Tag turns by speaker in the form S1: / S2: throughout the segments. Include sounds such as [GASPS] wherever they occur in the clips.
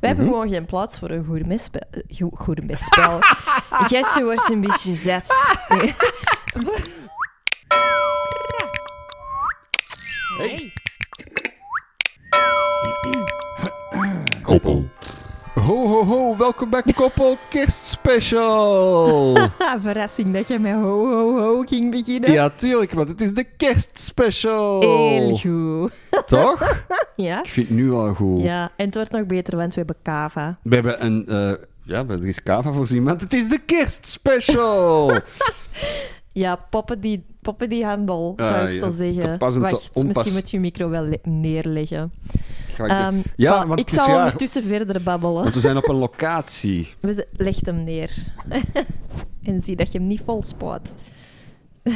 S1: hebben gewoon geen plaats voor een gourmetspel. Go [LAUGHS] gourmetspel. Jesse wordt een beetje [LAUGHS] zet. Nee.
S2: Hey.
S3: Koppel.
S2: Ho, ho, ho. Welkom bij Koppel [LAUGHS] Kerstspecial.
S1: Ah, verrassing dat je met ho ho ho ging beginnen.
S2: ja, Oh. tuurlijk, want het is de Kerstspecial.
S1: Heel goed.
S2: Toch?
S1: [LAUGHS] Ja?
S2: Ik vind het nu al goed.
S1: ja, en het wordt nog beter, want we hebben kava.
S2: We hebben een... eh, ja, er is kava voorzien, want het is de
S1: [LAUGHS]
S2: Kerstspecial.
S1: Ja, poppen die, poppen die handel,
S2: Ah,
S1: zou ik
S2: ja,
S1: zo zeggen.
S2: te pas en te
S1: Wacht,
S2: onpas.
S1: misschien moet je je micro wel le- neerleggen.
S2: Ga ik-
S1: Ehm,
S2: ja,
S1: voilà,
S2: want
S1: ik
S2: het is
S1: zal
S2: raar,
S1: ondertussen verder babbelen.
S2: Want we zijn op een locatie.
S1: We z- Leg hem neer. [LAUGHS] en zie dat je hem niet vol spuit. [LAUGHS]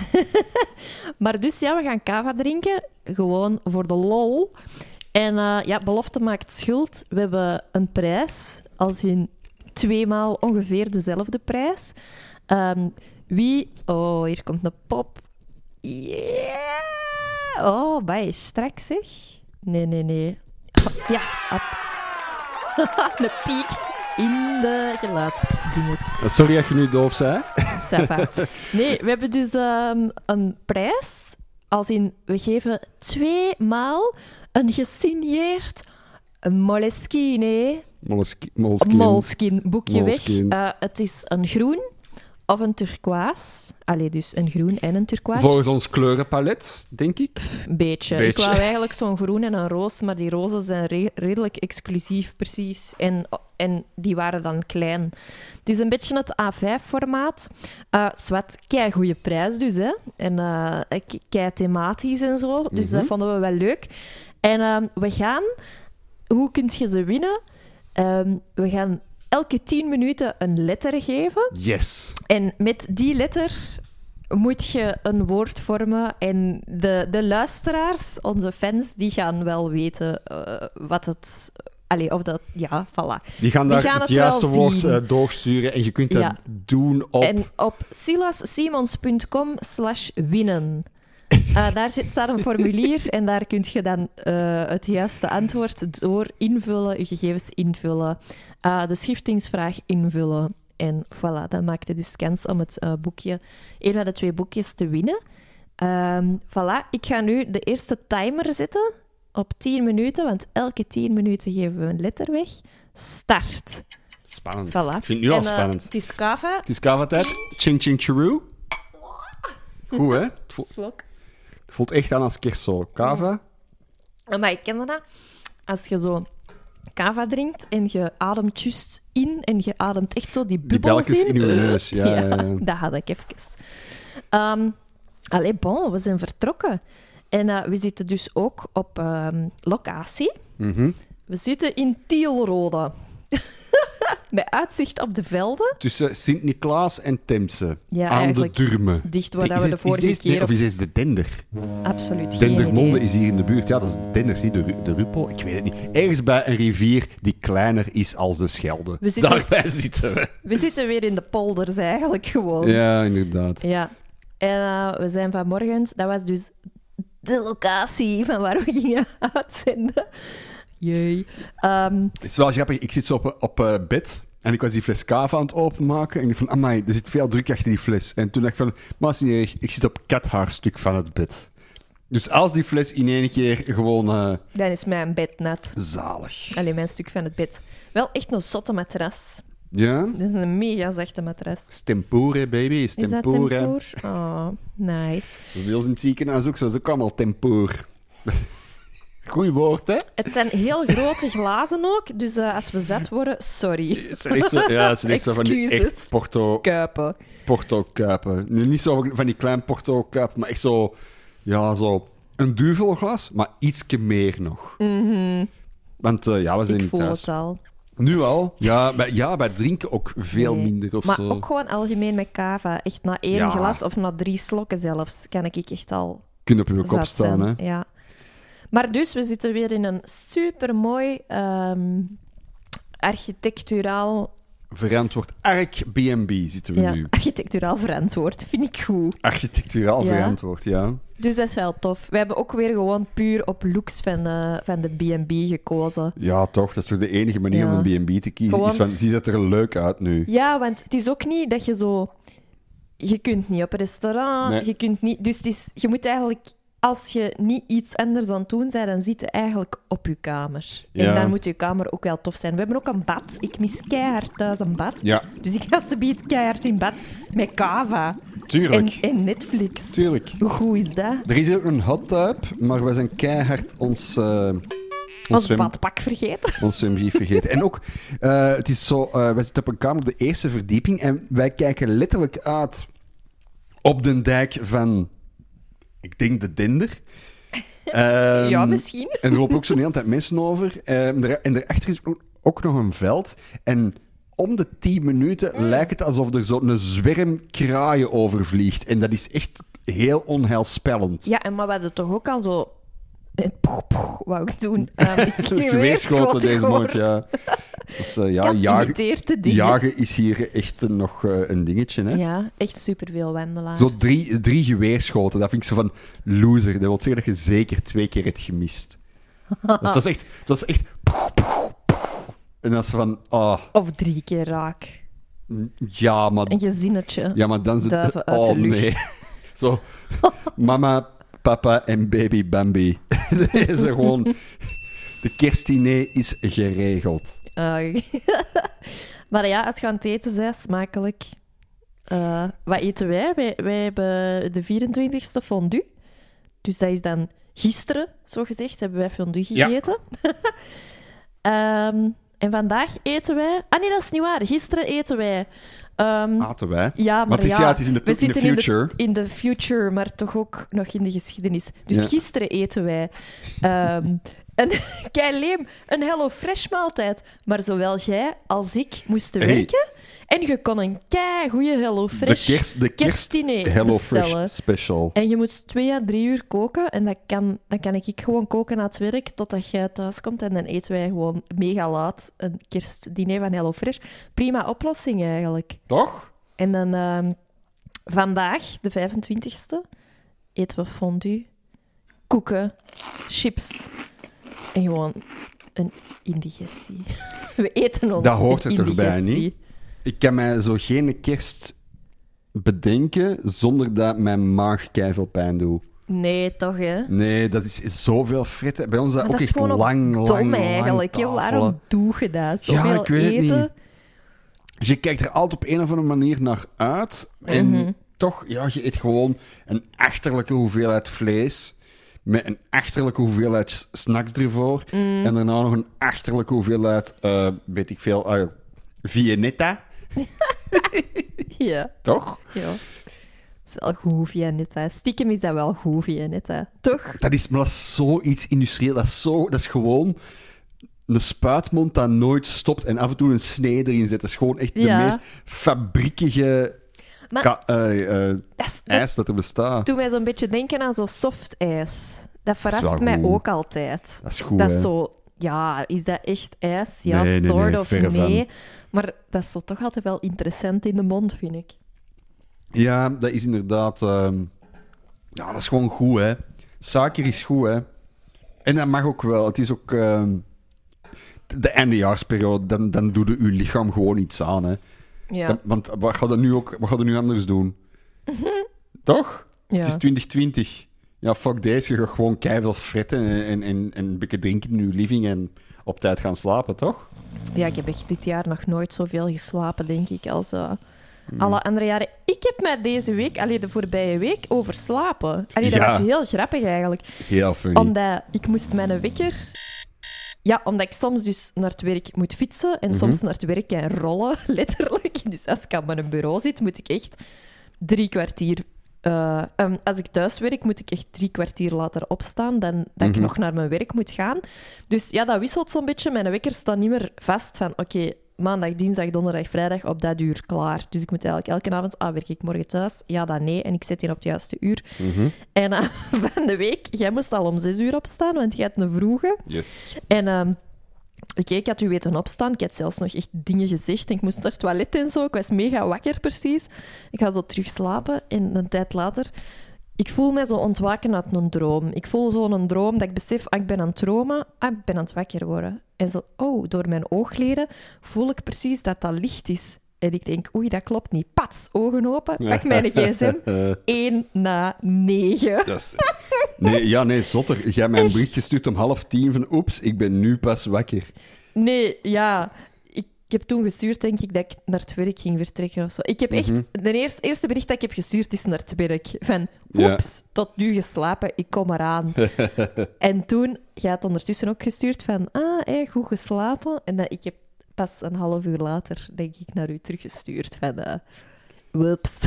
S1: maar dus ja, we gaan kava drinken. Gewoon voor de lol. En eh, ja, belofte maakt schuld. We hebben een prijs. Als in tweemaal ongeveer dezelfde prijs. Ehm, wie... Oh, hier komt een pop. Yeah! Oh, bij strak zeg. Nee, nee, nee. Oh, ja, [LAUGHS] op. de piek in de geluidsdinges.
S2: Eh, Sorry dat je nu doof zei.
S1: Ça va. Nee, we hebben dus ehm, een prijs. Als in, we geven twee maal een gesigneerd Moleskine
S2: Moleskin. Moleskin.
S1: Molskin boekje
S2: Moleskine.
S1: weg. Eh, het is een groen of een turquoise. Allee, dus een groen en een turquoise.
S2: Volgens ons kleurenpalet, denk ik.
S1: Een beetje. Ik
S2: Beetje.
S1: wou eigenlijk zo'n groen en een roos, maar die rozen zijn re- redelijk exclusief, precies. En, en die waren dan klein. Het is een beetje het A5-formaat. Eh zwart, kei goede prijs dus, hè. En eh kei thematisch en zo. Dus dat vonden we wel leuk. En ehm, we gaan... Hoe kun je ze winnen? Ehm, we gaan elke 10 minuten een letter geven.
S2: Yes.
S1: En met die letter moet je een woord vormen. En de, de luisteraars, onze fans, die gaan wel weten eh, wat het. Allee, of dat. Ja, voilà.
S2: Die gaan
S1: We
S2: daar
S1: gaan
S2: het
S1: het
S2: juiste
S1: wel
S2: woord
S1: zien.
S2: eh, doorsturen en je kunt
S1: Ja.
S2: dat doen op...
S1: En op silassimons.com slash
S2: [LAUGHS]
S1: winnen. Eh, daar zit, staat een formulier en daar kun je dan eh, het juiste antwoord door invullen, je gegevens invullen, eh, de schiftingsvraag invullen. En voilà, dan maak je dus kans om het eh, boekje, een van de twee boekjes te winnen. Ehm, voilà, ik ga nu de eerste timer zetten op 10 minuten, want elke 10 minuten geven we een letter weg. Start.
S2: Spannend.
S1: Voilà.
S2: Ik vind het nu al
S1: En, eh,
S2: spannend.
S1: Het is kava.
S2: Het is kava-tijd. Ching ching chiru. Goed, hè? Het voelt,
S1: Slok.
S2: het voelt echt aan als kerstzo. Kava.
S1: Maar ik ken dat. Als je zo kava drinkt en je ademt juist in en je ademt echt zo die
S2: Die
S1: bubbels
S2: belletjes
S1: [LAUGHS]
S2: in
S1: in.
S2: uw neus. Ja, Eh, ja, ja.
S1: dat had ik even. Ehm allee, bon, we zijn vertrokken. En eh, we zitten dus ook op ehm, locatie.
S2: Mhm.
S1: We zitten in Tielrode. [LAUGHS] Met uitzicht op de velden.
S2: Tussen Sint-Niklaas en Temse.
S1: Ja,
S2: aan
S1: eigenlijk
S2: de Durmen.
S1: dicht waar
S2: Is
S1: dat we de
S2: dit- is
S1: vorige
S2: deze-
S1: keer
S2: Of
S1: op-
S2: is deze de Dender?
S1: Absoluut geen idee.
S2: Dendermonde is hier in de buurt. Ja, dat is Dender. Zie de, Ru- de Ruppel? Ik weet het niet. Ergens bij een rivier die kleiner is als de Schelde.
S1: We zitten-
S2: Daarbij zitten we.
S1: We zitten weer in de polders eigenlijk gewoon.
S2: Ja, inderdaad.
S1: Ja. En eh, we zijn vanmorgen, dat was dus de locatie van waar we gingen [LAUGHS] uitzenden. Jee. Ehm,
S2: Het is wel grappig. Ik zit zo op, op eh, bed en ik was die fles kava aan het openmaken. En ik dacht van, amai, er zit veel druk achter die fles. En toen dacht ik van, maar is niet erg, ik zit op kathaarstuk van het bed. Dus als die fles in één keer gewoon eh,
S1: dan is mijn bed nat.
S2: zalig.
S1: Alleen mijn stuk van het bed. Wel echt een zotte matras.
S2: Ja?
S1: Dat is een mega zachte matras.
S2: Tempore, baby, is
S1: Is dat
S2: tempore.
S1: tempoor? Oh, nice.
S2: Dat is bij ons in het ziekenhuis ook zo, ze kwam al tempoor. [LAUGHS] Goeie woord, hè?
S1: Het zijn heel grote glazen ook, dus eh, als we zat worden, sorry.
S2: [LAUGHS] Het zijn echt zo, ja, het zijn echt zo van die
S1: Excuses.
S2: echt porto,
S1: Kuipen.
S2: Porto-kuipen. Nu, niet zo van die klein porto-kuip, maar echt zo... Ja, zo een duvelglas, maar ietsje meer nog. Want eh, ja, we zijn
S1: Mhm. Ik voel
S2: niet thuis.
S1: het al.
S2: Nu al? Ja, bij, ja, bij drinken ook veel
S1: Nee.
S2: minder of
S1: maar
S2: zo.
S1: ook gewoon algemeen met kava. Echt na één
S2: Ja.
S1: glas of na drie slokken zelfs kan ik echt al
S2: Kun je op je kop
S1: zat
S2: staan, hè.
S1: zijn. Ja. Maar dus, we zitten weer in een supermooi ehm architecturaal
S2: verantwoord. Ark BNB zitten we
S1: Ja,
S2: nu.
S1: architecturaal verantwoord, vind ik goed.
S2: Architecturaal
S1: Ja.
S2: verantwoord, ja.
S1: Dus dat is wel tof. We hebben ook weer gewoon puur op looks van, eh, van de B&B gekozen.
S2: Ja, toch. Dat is toch de enige manier
S1: Ja.
S2: om een B&B te kiezen.
S1: Gewoon-
S2: Is van, ziet dat er leuk uit nu?
S1: Ja, want het is ook niet dat je zo... Je kunt niet op een restaurant,
S2: Nee.
S1: je kunt niet... Dus het is, je moet eigenlijk... Als je niet iets anders aan het doen bent, dan zit je eigenlijk op je kamer.
S2: Ja.
S1: En dan moet je kamer ook wel tof zijn. We hebben ook een bad. Ik mis keihard thuis een bad.
S2: Ja,
S1: Dus ik ga ze keihard in bad met kava en,
S2: tuurlijk.
S1: en Netflix.
S2: Tuurlijk.
S1: Hoe goed is dat?
S2: Er is hier ook een hot tub, maar we zijn keihard ons, eh ons,
S1: Als
S2: zwem,
S1: badpak vergeten.
S2: [LAUGHS] ons zwemgief vergeten. En ook, eh, het is zo, eh, wij zitten op een kamer op de eerste verdieping en wij kijken letterlijk uit op de dijk van, ik denk de Dinder.
S1: [LAUGHS]
S2: Ehm,
S1: ja, misschien.
S2: En er lopen ook zo'n hele tijd mensen over. Ehm, daar- en daarachter is ook, ook nog een veld. En om de 10 minuten
S1: Hmm.
S2: lijkt het alsof er zo'n zwerm kraaien overvliegt. En dat is echt heel onheilspellend.
S1: Ja, en maar we hadden toch ook al zo. eh, Poeg, poeg, wou ik
S2: [LAUGHS]
S1: doen. Ehm,
S2: Geweerschoten deze maand,
S1: gehoord.
S2: ja. Dus, eh, ja,
S1: Kat
S2: jagen,
S1: imiteert de dingen.
S2: jagen is hier echt eh, nog eh, een dingetje. Hè?
S1: Ja, echt superveel wandelaars.
S2: Zo drie, drie geweerschoten, dat vind ik zo van loser. Dat wil zeggen dat je zeker twee keer hebt
S1: [LAUGHS]
S2: gemist. Dat was echt... Dat was echt en dan is ze van, ah,
S1: Of drie keer raak.
S2: ja, maar
S1: Een gezinnetje.
S2: Ja, maar dan zit
S1: Duiven uit
S2: oh,
S1: de lucht.
S2: nee. [LAUGHS] Zo, mama, papa en baby Bambi. [LAUGHS] Dat is er gewoon... De kerstdiner is geregeld.
S1: Eh, [LAUGHS] maar ja, als je aan het eten bent, smakelijk. Eh, wat eten wij? wij? Wij hebben de 24e fondue. Dus dat is dan gisteren, zo gezegd, hebben wij fondue
S2: Ja.
S1: gegeten. [LAUGHS] Ehm, en vandaag eten wij... Ah nee, dat is niet waar. Gisteren eten wij... ehm,
S2: Aten wij.
S1: ja, maar,
S2: maar het is, ja, het is in de,
S1: we
S2: in de
S1: zitten in de-
S2: future.
S1: in de future, maar toch ook nog in de geschiedenis. Dus
S2: Ja.
S1: gisteren eten wij ehm, [LAUGHS] een keileem, een Hello Fresh maaltijd. Maar zowel jij als ik moesten
S2: Hey.
S1: werken. En je kon een kei goede Hello Fresh
S2: de kerst, de kerst
S1: kerstdiner
S2: Hello
S1: bestellen.
S2: Fresh special.
S1: En je moet twee à drie uur koken. En dat kan, dan kan ik gewoon koken na het werk totdat jij thuis komt. En dan eten wij gewoon mega laat een kerstdiner van Hello Fresh. Prima oplossing eigenlijk.
S2: Toch?
S1: En dan ehm, vandaag, de 25e, eten we fondue, koeken, chips en gewoon een indigestie. [LAUGHS] We eten ons
S2: Dat hoort er
S1: een
S2: toch bij,
S1: indigestie.
S2: niet? Ik kan mij zo geen kerst bedenken zonder dat mijn maag keiveel pijn doet.
S1: Nee, toch hè? Maar
S2: Nee, dat is is zoveel fritten. Bij ons is dat ook
S1: dat is
S2: echt
S1: gewoon
S2: lang,
S1: ook
S2: lang, lang,
S1: dom eigenlijk. hè?
S2: tafelen.
S1: Waarom doe je dat?
S2: Ja,
S1: Zoveel
S2: ik weet het
S1: eten.
S2: niet. Dus je kijkt er altijd op een of andere manier naar uit. En
S1: Mhm.
S2: toch, ja, je eet gewoon een achterlijke hoeveelheid vlees. Met een achterlijke hoeveelheid s- snacks ervoor.
S1: Mhm.
S2: En daarna nog een achterlijke hoeveelheid, eh, weet ik veel, eh Viennetta.
S1: [LAUGHS] Ja,
S2: Toch?
S1: ja. Dat is wel goed, Vianetta. Stiekem is dat wel goed, Vianetta. Toch?
S2: Dat is, maar dat is zoiets industrieel. Dat is, zo, dat is gewoon een spuitmond dat nooit stopt. En af en toe een snee erin zet. Dat is gewoon echt de
S1: Ja.
S2: meest fabriekige
S1: Maar-
S2: ka- eh, eh,
S1: Dat is, dat
S2: ijs dat er bestaat.
S1: doet mij zo'n beetje denken aan zo'n soft ijs. Dat
S2: is
S1: verrast
S2: wel
S1: mij
S2: goed.
S1: ook altijd.
S2: Dat is goed,
S1: dat
S2: hè?
S1: is zo, ja, is dat echt ijs? Ja,
S2: Nee, nee,
S1: soort
S2: nee,
S1: of
S2: verre van.
S1: nee. Maar dat is zo toch altijd wel interessant in de mond, vind ik.
S2: Ja, dat is inderdaad. ehm, ja, dat is gewoon goed, hè? Suiker is goed, hè? En dat mag ook wel. Het is ook. ehm, de eindejaarsperiode, dan, dan doet je lichaam gewoon iets aan, hè?
S1: Ja,
S2: Dan- want wat gaat er nu ook wat gaat er nu anders doen? Toch? Het is 2020. Ja, fuck deze. Je gaat gewoon keihard fretten en, en, en, en een beetje drinken in je living en op tijd gaan slapen, toch?
S1: ja, ik heb echt dit jaar nog nooit zoveel geslapen, denk ik, als eh,
S2: Mm.
S1: alle andere jaren. Ik heb mij deze week, alleen de voorbije week, overslapen. Allee, dat
S2: Ja.
S1: was heel grappig eigenlijk.
S2: Heel funny.
S1: Omdat ik moest mijn wekker... Ja, omdat ik soms dus naar het werk moet fietsen en soms naar het werk en rollen, [LAUGHS] letterlijk. Dus als ik aan mijn bureau zit, moet ik echt drie kwartier... eh, ehm, als ik thuis werk, moet ik echt drie kwartier later opstaan dan dat ik nog naar mijn werk moet gaan. Dus ja, dat wisselt zo'n beetje. Mijn wekker staat niet meer vast van, oké, maandag, dinsdag, donderdag, vrijdag, op dat uur, klaar. Dus ik moet eigenlijk elke avond, ah, werk ik morgen thuis? Ja, dan nee. En ik zet die op het juiste uur. En eh, [LAUGHS] van de week, jij moest al om zes uur opstaan, want jij had een vroege.
S2: Yes.
S1: En ehm, Oké, ik had u weten opstaan. Ik had zelfs nog echt dingen gezegd. En ik moest naar het toilet en zo. Ik was mega wakker precies. Ik ga zo terug slapen. En een tijd later... Ik voel mij zo ontwaken uit een droom. Ik voel zo'n droom dat ik besef, ah, ik ben aan het dromen. Ah, ik ben aan het wakker worden. En zo, oh, door mijn oogleden voel ik precies dat dat licht is. En ik denk, oei, dat klopt niet. Pats, ogen open, pak mijn gsm. 1 na 9.
S2: Dat is- Nee, ja, nee, zotter. Jij hebt mij een bericht gestuurd om half tien van oeps, ik ben nu pas wakker.
S1: Nee, ja. Ik heb toen gestuurd, denk ik, dat ik naar het werk ging vertrekken of zo. Ik heb echt... De eerste, eerste bericht dat ik heb gestuurd is naar het werk. Van,
S2: Ja.
S1: oeps, tot nu geslapen, ik kom eraan. en toen, jij had ondertussen ook gestuurd van, ah, hey, goed geslapen. En dat, ik heb pas een half uur later, denk ik, naar u teruggestuurd van, eh whoops.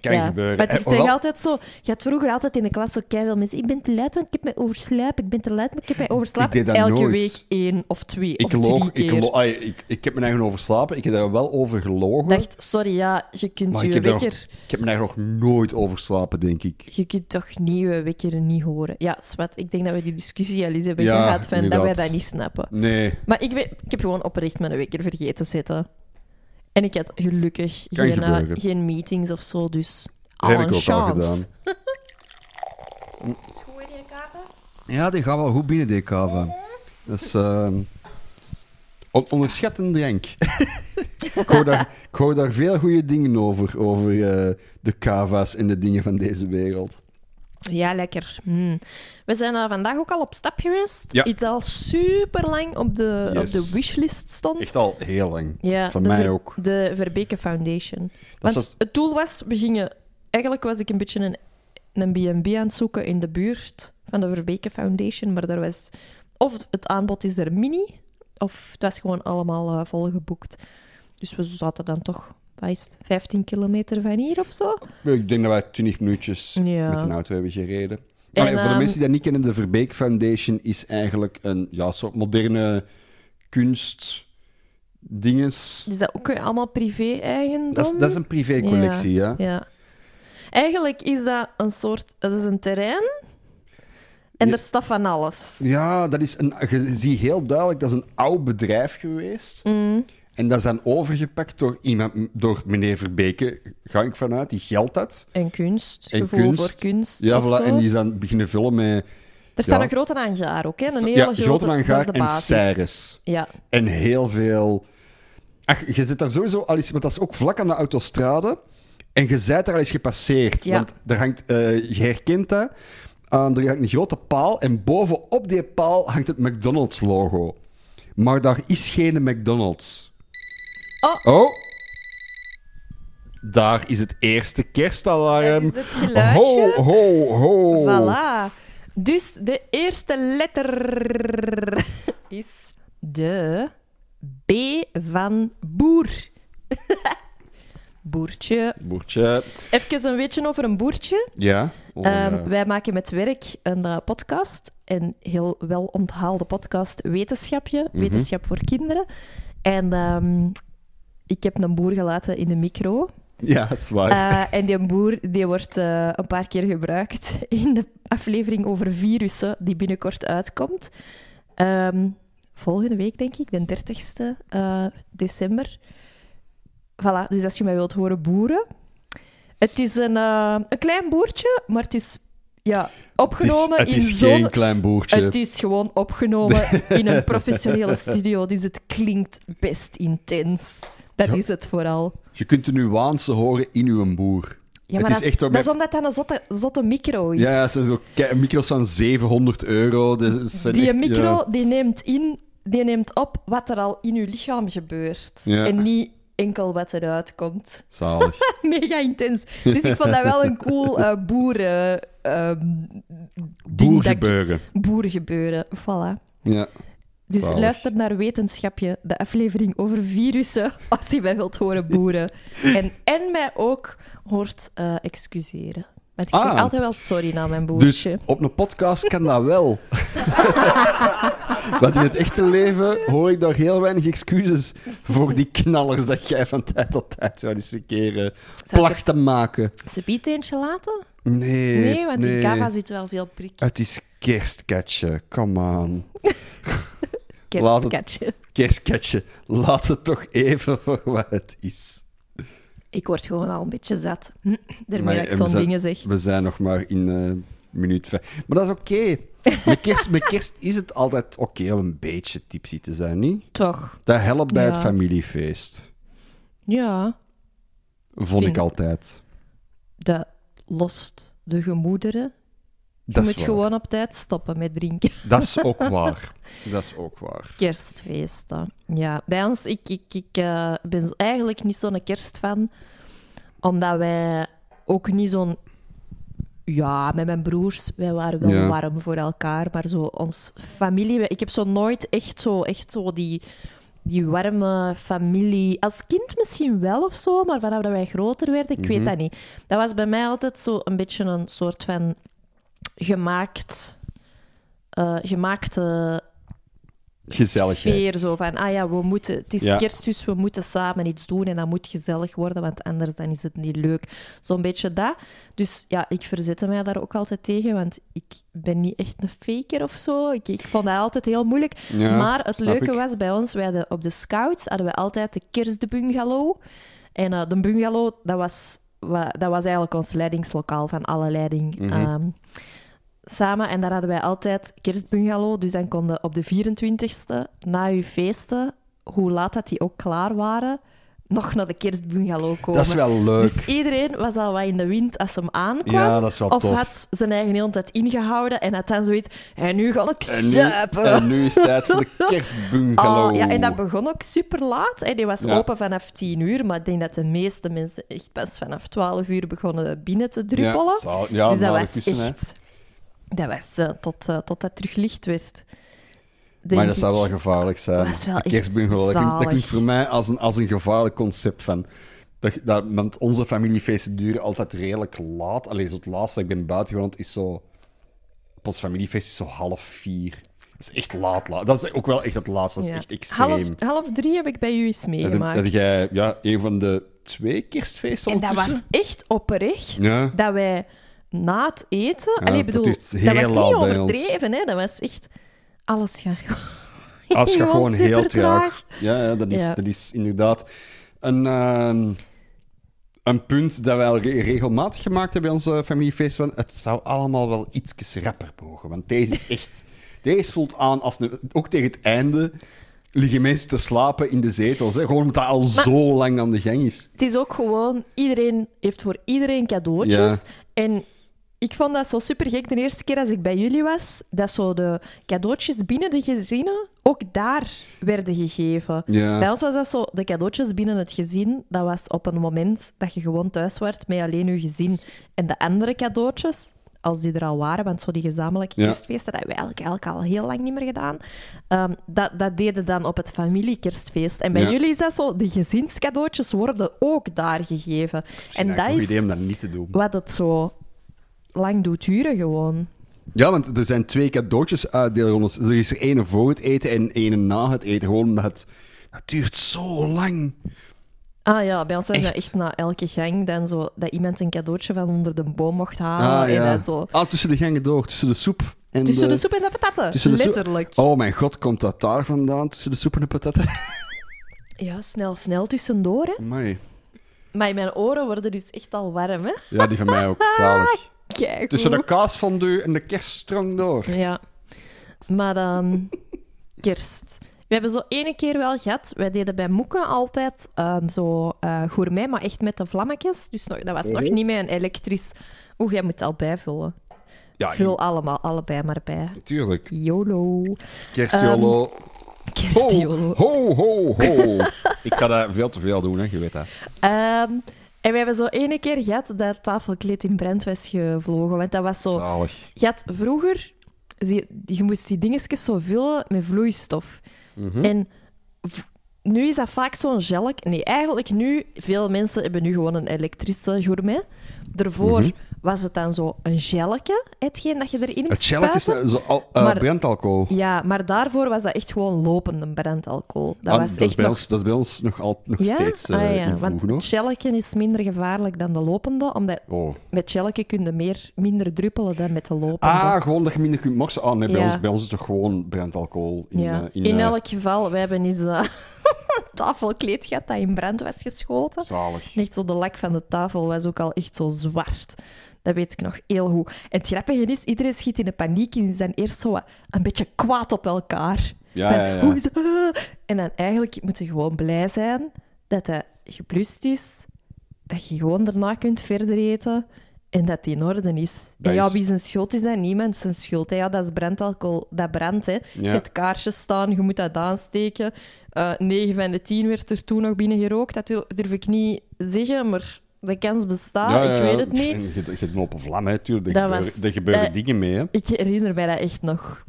S2: Kan
S1: Ja,
S2: gebeuren.
S1: Maar het is
S2: Eh,
S1: toch
S2: wel-
S1: altijd zo. Je had vroeger altijd in de klas zo keihard mensen. Ik ben te luid, want ik heb mij overslapen. Ik ben te luid, maar ik heb mij overslapen.
S2: Ik deed dat
S1: Elke
S2: nooit.
S1: week één of twee
S2: Ik,
S1: of
S2: loog,
S1: drie keer.
S2: ik, lo- ai, ik, ik heb mijn eigen overslapen. Ik heb daar wel over gelogen.
S1: Ik dacht, sorry, ja, je kunt
S2: maar ik
S1: je
S2: heb, daar nog,
S1: wekker...
S2: ik heb mijn eigen nog nooit overslapen, denk ik.
S1: Je kunt toch nieuwe wekker niet horen? Ja, zwart. Ik denk dat we die discussie al eens hebben
S2: Ja,
S1: gehad, van dat wij
S2: inderdaad.
S1: dat niet snappen.
S2: Nee,
S1: Maar ik, weet, ik heb gewoon oprecht mijn wekker vergeten te zetten. En ik had gelukkig
S2: Kan
S1: geen, eh,
S2: gebeuren.
S1: geen meetings of zo, dus... Al
S2: heb
S1: een
S2: ik ook al
S1: chance.
S2: gedaan. Ja, die gaat wel goed binnen, die kava. Dat is ehm, on- onderschat een drank. [LAUGHS] ik, hoor daar, ik hoor daar veel goede dingen over, over eh, de kava's en de dingen van deze wereld.
S1: Ja, lekker. Hmm. We zijn eh, vandaag ook al op stap geweest.
S2: Ja.
S1: Iets dat al super lang op de, op
S2: Yes.
S1: de wishlist stond.
S2: Echt al heel lang.
S1: Ja,
S2: Van
S1: de
S2: mij
S1: Ver-
S2: ook.
S1: De Verbeke Foundation. Want
S2: was-
S1: het doel was, we gingen... Eigenlijk was ik een beetje een, een B&B aan het zoeken in de buurt van de Verbeke Foundation, maar daar was... Of het aanbod is er mini, of het was gewoon allemaal eh, volgeboekt. Dus we zaten dan toch, wat is het, 15 kilometer van hier of zo?
S2: Ik denk dat wij 20 minuutjes
S1: Ja.
S2: met een auto hebben gereden.
S1: En,
S2: Allee, voor de
S1: ehm,
S2: mensen die dat niet kennen, de Verbeek Foundation is eigenlijk een ja, soort moderne kunst dinges.
S1: Is dat ook weer allemaal privé-eigendom?
S2: Dat is, dat is een privécollectie, ja.
S1: Ja. Eigenlijk is dat een soort... Dat is een terrein en
S2: Ja.
S1: er staat van alles.
S2: Ja, dat is een, je ziet heel duidelijk, dat is een oud bedrijf geweest.
S1: Mm.
S2: En dat is dan overgepakt door iemand, door meneer Verbeke, ga ik vanuit, die geld had.
S1: En kunst,
S2: En
S1: gevoel
S2: kunst.
S1: voor kunst.
S2: Ja,
S1: of
S2: voilà,
S1: zo.
S2: en die is dan beginnen vullen met...
S1: Er staat
S2: ja.
S1: een grote hangaar ook, hè? Een hele
S2: ja,
S1: grote, dat
S2: Grootmangaar
S1: is de
S2: en
S1: basis.
S2: Ceres.
S1: Ja,
S2: En heel veel... Ach, je zit daar sowieso al eens... Want dat is ook vlak aan de autostrade. En je bent daar al eens gepasseerd.
S1: Ja.
S2: Want daar hangt... eh, je herkent dat. Aan, er hangt een grote paal. En bovenop die paal hangt het McDonald's-logo. Maar daar is geen McDonald's.
S1: Oh.
S2: Daar is het eerste
S1: dat
S2: kerstalarm.
S1: is het geluidje.
S2: Ho, ho, Ehm, ho.
S1: Voilà. Dus de eerste letter [LAUGHS] is de B van boer. [LAUGHS] Boertje.
S2: Boertje.
S1: Even een weetje over een boertje.
S2: Ja.
S1: Ehm,
S2: Oh,
S1: wij maken met werk een eh, podcast, een heel wel onthaalde podcast, Wetenschapje, Wetenschap voor Kinderen. En ehm, ik heb een boer gelaten in de micro.
S2: ja, dat is waar.
S1: Eh, en die boer die wordt eh, een paar keer gebruikt [LAUGHS] in de aflevering over virussen, die binnenkort uitkomt. Ehm, volgende week, denk ik, de 30ste eh, december. Voilà, dus als je mij wilt horen boeren. Het is een, eh, een klein boertje, maar het is ja, opgenomen
S2: het is, het
S1: in
S2: is
S1: zo'n...
S2: geen klein boertje.
S1: Het is gewoon
S2: [LAUGHS]
S1: opgenomen in een professionele studio, dus het klinkt best intens. Dat
S2: Ja.
S1: is het vooral.
S2: Je kunt de nuance horen in uw boer.
S1: Ja,
S2: het
S1: maar
S2: is
S1: dat,
S2: echt door
S1: dat is
S2: mijn-
S1: omdat dat een zotte, zotte micro is.
S2: Ja, dat zijn zo ke- micro's van 700 euro. Dat zijn
S1: die
S2: echt,
S1: micro
S2: ja.
S1: die neemt in, die neemt op wat er al in je lichaam gebeurt.
S2: Ja.
S1: En niet enkel wat eruit komt. [LAUGHS]
S2: Zalig.
S1: Mega intens. Dus ik vond dat wel een cool eh boeren... ehm, ding dat ik-
S2: Boergebeuren.
S1: boerengebeuren. Voilà.
S2: Ja.
S1: Dus
S2: Zalig.
S1: luister naar Wetenschapje, de aflevering over virussen, [LAUGHS] als je mij wilt horen boeren. En, en mij ook hoort eh, excuseren. Want ik zeg
S2: Ah.
S1: altijd wel sorry naar mijn
S2: Dus
S1: boertje.
S2: op een podcast kan dat
S1: [LAUGHS]
S2: wel. Want in het echte leven hoor ik daar heel weinig excuses voor die knallers dat jij van tijd tot tijd wel eens een keer eh, placht te maken.
S1: Ze biedt eentje laten?
S2: Nee,
S1: Nee, want in
S2: nee.
S1: Kava zit wel veel prik.
S2: Het is kerstkatje, come on.
S1: Kerstkatje.
S2: Kerstkatje, laat het toch even voor wat het is.
S1: Ik word gewoon al een beetje zat. [LAUGHS]
S2: Maar
S1: Daarmee dat
S2: en we
S1: ik zo'n
S2: zijn-
S1: dingen zeg.
S2: We zijn nog maar in eh, minuut vijf. Maar dat is oké. Met, kerst, met kerst is het altijd oké om een beetje tipsy te zijn, niet?
S1: Toch?
S2: Dat helpt bij het
S1: Ja.
S2: familiefeest.
S1: Ja.
S2: Vond ik
S1: Vind-
S2: altijd.
S1: Dat lost de gemoederen. Je
S2: Dat is,
S1: moet
S2: waar.
S1: gewoon op tijd stoppen met drinken.
S2: dat is ook waar. Dat is ook
S1: [LAUGHS]
S2: waar.
S1: Kerstfeesten. Ja, bij ons, ik, ik, ik eh, ben zo- eigenlijk niet zo'n kerstfan, omdat wij ook niet zo'n. Ja, met mijn broers, wij waren wel
S2: Ja.
S1: warm voor elkaar, maar zo ons familie. wij- Ik heb zo nooit echt zo, echt zo die, die warme familie. Als kind misschien wel of zo, maar vanaf dat wij groter werden, ik weet dat niet. Dat was bij mij altijd zo een beetje een soort van gemaakt, eh, gemaakte
S2: Gezelligheid.
S1: sfeer. Zo van, ah ja, we moeten, het is
S2: Ja.
S1: kerst, dus we moeten samen iets doen en dat moet gezellig worden, want anders dan is het niet leuk. Zo'n beetje dat. Dus ja, ik verzette mij daar ook altijd tegen, want ik ben niet echt een faker of zo. Ik, ik vond dat altijd heel moeilijk.
S2: Ja,
S1: maar het
S2: snap
S1: leuke
S2: ik.
S1: was bij ons, wij hadden, op de scouts hadden we altijd de kerstbungalow. En eh, de bungalow, dat was, wa- dat was eigenlijk ons leidingslokaal van alle leiding.
S2: Mhm.
S1: ehm, samen en daar hadden wij altijd kerstbungalow. Dus dan konden op de 24e, na je feesten, hoe laat dat die ook klaar waren, nog naar de kerstbungalow komen.
S2: Dat is wel leuk.
S1: Dus iedereen was al wat in de wind als hem aankwam.
S2: Ja, dat is wel
S1: of
S2: tof.
S1: had zijn eigen hele tijd ingehouden en had dan zoiets... En nu ga ik
S2: En nu,
S1: zuipen.
S2: en nu is het tijd voor
S1: [LAUGHS]
S2: de kerstbungalow.
S1: Oh, ja, en dat begon ook super laat. Hè. Die was
S2: Ja.
S1: open vanaf 10 uur, maar ik denk dat de meeste mensen echt pas vanaf 12 uur begonnen binnen te druppelen.
S2: Ja, zou- ja,
S1: dus dat
S2: na de
S1: was
S2: kussen, hè.
S1: echt. Dat was eh, tot, eh, tot dat terug licht werd.
S2: maar
S1: denk
S2: dat zou wel
S1: ik.
S2: gevaarlijk zijn.
S1: Dat is wel
S2: De
S1: echt
S2: kerstbungalow, dat klinkt, dat
S1: zalig.
S2: klinkt voor mij als een, als een gevaarlijk concept van... Dat, je- dat, want onze familiefeesten duren altijd redelijk laat. Alleen zo het laatste dat ik ben buiten gewoond is zo... Op ons familiefeest is zo half vier. Dat is echt laat, laat. Dat is ook wel echt het laatste. Dat is
S1: Ja.
S2: echt extreem.
S1: half, half drie heb ik bij u eens
S2: Dat-
S1: meegemaakt.
S2: Dat jij ja, een van de twee kerstfeesten
S1: En dat
S2: ondertussen...
S1: was echt oprecht
S2: Ja.
S1: dat wij na het eten.
S2: Ja,
S1: allee,
S2: dat
S1: bedoel,
S2: duurt
S1: dat,
S2: heel
S1: was
S2: laat
S1: niet
S2: bij ons.
S1: overdreven, hè? dat was echt. Alles [LAUGHS] gaat
S2: Als je
S1: Die was
S2: gewoon heel traag.
S1: supertraag.
S2: Ja, ja, dat, is,
S1: Ja.
S2: dat is inderdaad een, ehm, een punt dat wij al re- regelmatig gemaakt hebben bij onze familiefeest. Van, het zou allemaal wel iets rapper mogen. Want deze is
S1: [LAUGHS]
S2: echt. deze voelt aan als. een- ook tegen het einde liggen mensen te slapen in de zetels. Hè? Gewoon omdat dat al zo lang aan de gang is.
S1: Het is ook gewoon, iedereen heeft voor iedereen cadeautjes.
S2: Ja.
S1: En ik vond dat zo super gek de eerste keer als ik bij jullie was, dat zo de cadeautjes binnen de gezinnen ook daar werden gegeven.
S2: Ja.
S1: Bij ons was dat zo, de cadeautjes binnen het gezin, dat was op een moment dat je gewoon thuis werd met alleen je gezin. En de andere cadeautjes, als die er al waren, want zo die gezamenlijke
S2: Ja.
S1: kerstfeesten, dat hebben we eigenlijk, eigenlijk al heel lang niet meer gedaan, ehm, dat, dat deden dan op het familiekerstfeest. En bij
S2: Ja.
S1: jullie is dat zo, de gezinscadeautjes worden ook daar gegeven. en dat
S2: een
S1: is
S2: goed idee om dat niet te doen.
S1: wat het zo lang doet duren gewoon.
S2: Ja, want er zijn twee cadeautjes uitdeelrondes. Er is er ene voor het eten en ene na het eten. Gewoon omdat het, dat duurt zo lang.
S1: Ah ja, bij ons was
S2: Echt?
S1: dat echt na elke gang dan zo, dat iemand een cadeautje van onder de boom mocht halen.
S2: Ah,
S1: en
S2: ja.
S1: dat zo.
S2: Ah, tussen de gangen door, tussen de soep. En
S1: Tussen de soep en de patatten.
S2: tussen de soep-
S1: Letterlijk.
S2: Oh mijn god, komt dat daar vandaan, tussen de soep en de patatten?
S1: Ja, snel, snel tussendoor. Hè.
S2: [LAUGHS] Amai.
S1: Maar mijn oren worden dus echt al warm. Hè.
S2: Ja, die van mij ook, zalig.
S1: Kijk.
S2: [LAUGHS] Tussen de kaasfondue en de kerststrang door.
S1: Ja. Maar ehm, kerst. We hebben zo ene keer wel gehad. Wij deden bij Moeken altijd ehm, zo eh, gourmet, maar echt met de vlammetjes. Dus nog, dat was nog niet met een elektrisch. Oeh, jij moet het al bijvullen.
S2: Ja,
S1: Vul allemaal, allebei maar bij.
S2: natuurlijk.
S1: YOLO.
S2: Kerstjolo.
S1: Kerstjolo.
S2: ho, Ehm, ho, ho, ho. [LAUGHS] Ik ga daar veel te veel doen, hè, je weet dat.
S1: Ehm, en we hebben zo ene keer gehad dat tafelkleed in brand was gevlogen. Want dat was zo...
S2: Zalig.
S1: Je had vroeger, zie- je moest die dingetjes zo vullen met vloeistof.
S2: Mhm.
S1: En v- nu is dat vaak zo'n gelk. Nee, eigenlijk nu, veel mensen hebben nu gewoon een elektrische gourmet. Daarvoor was het dan zo een gelke, hetgeen dat je erin moest
S2: Mhm. Het shelletje is
S1: spuiten?
S2: eh, zo, al- eh,
S1: Maar-
S2: brandalcohol.
S1: Ja, maar daarvoor was dat echt gewoon lopende brandalcohol. Dat
S2: Ah,
S1: was
S2: dat,
S1: echt
S2: is bij
S1: nog...
S2: ons, dat is bij ons nog, al, nog
S1: ja?
S2: steeds eh
S1: ah, ja.
S2: invoegen,
S1: Want
S2: hoor.
S1: shelleken is minder gevaarlijk dan de lopende, omdat
S2: Oh.
S1: met shelleken kun je meer, minder druppelen dan met de lopende.
S2: Ah, gewoon dat je minder kunt morsen. Ah, nee, bij,
S1: Ja.
S2: ons, bij ons is het toch gewoon brandalcohol in,
S1: ja.
S2: eh,
S1: in,
S2: in, eh,
S1: elk geval, we hebben eens eh, [LAUGHS] een tafelkleed gehad dat in brand was geschoten.
S2: Zalig.
S1: En Echt zo, de lak van de tafel was ook al echt zo zwart. Dat weet ik nog heel goed. En het grappige is, iedereen schiet in de paniek en die zijn eerst zo wat- een beetje kwaad op elkaar.
S2: Ja,
S1: Van,
S2: ja, ja.
S1: Hoe is dat? Ah. En dan eigenlijk moet je gewoon blij zijn dat dat geblust is, dat je gewoon daarna kunt verder eten en dat die in orde is.
S2: Dat
S1: en ja,
S2: is-
S1: wie zijn schuld is, dat niemand zijn schuld. Hè? Ja, dat is brandalcohol, dat brandt. Hè? Je
S2: Ja.
S1: hebt kaarsjes staan, je moet dat aansteken. Eh 9 van de 10 werd er toen nog binnen gerookt. Dat durf- durf ik niet zeggen, maar de kans bestaat.
S2: Ja, ja,
S1: ah, ik
S2: ja.
S1: weet het niet.
S2: En Je, je hebt een open vlam, hè, tuurlijk.
S1: Dat
S2: Er gebeuren,
S1: was-
S2: er gebeuren
S1: eh,
S2: dingen mee, hè.
S1: Ik herinner mij dat echt nog.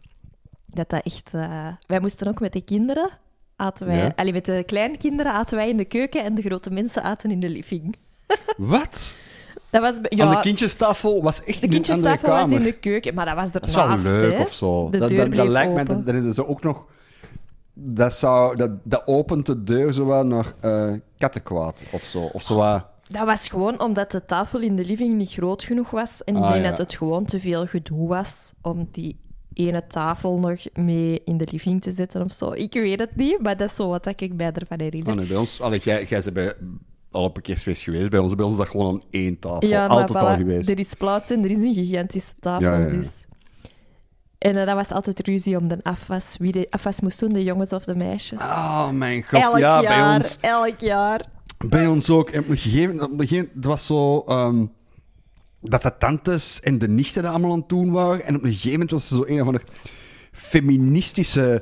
S1: Dat dat echt... eh, Wij moesten ook met de kinderen... Aten wij,
S2: Ja.
S1: allee, met de kleinkinderen aten wij in de keuken en de grote mensen aten in de living.
S2: Wat?
S1: Dat was, be- ja,
S2: Aan de kindjestafel was echt
S1: de
S2: in een andere
S1: kindjestafel was
S2: kamer.
S1: in de keuken, maar dat was
S2: Dat is wel
S1: ernaast.
S2: leuk
S1: hè.
S2: of zo.
S1: De
S2: dat,
S1: deur
S2: dat, dat
S1: bleef
S2: lijkt me,
S1: open.
S2: dat, dat is zo ook nog... Dat, zou, dat, dat opent de deur zo wat naar eh, kattenkwaad of zo. Of zo wat...
S1: Dat was gewoon omdat de tafel in de living niet groot genoeg was. En ik
S2: Ah,
S1: denk
S2: ja.
S1: dat het gewoon te veel gedoe was om die ene tafel nog mee in de living te zetten of zo. Ik weet het niet, maar dat is zo wat dat ik mij ervan herinner.
S2: Oh nee, bij ons... Allee, jij, jij bent bij alle parkeersfeest geweest. Bij ons, bij ons is dat gewoon aan één tafel.
S1: maar
S2: Altijd al
S1: voilà,
S2: geweest.
S1: Er is plaats en er is een gigantische tafel,
S2: Ja, ja, ja.
S1: dus... En eh, dat was altijd ruzie om de afwas. Wie de afwas moest doen, de jongens of de meisjes.
S2: Oh mijn god,
S1: elk
S2: ja,
S1: jaar,
S2: bij ons...
S1: elk jaar.
S2: Bij ons ook. En op een gegeven moment, op een gegeven moment het was zo. ehm, dat de tantes en de nichten dat allemaal aan het doen waren. En op een gegeven moment was er zo een of andere feministische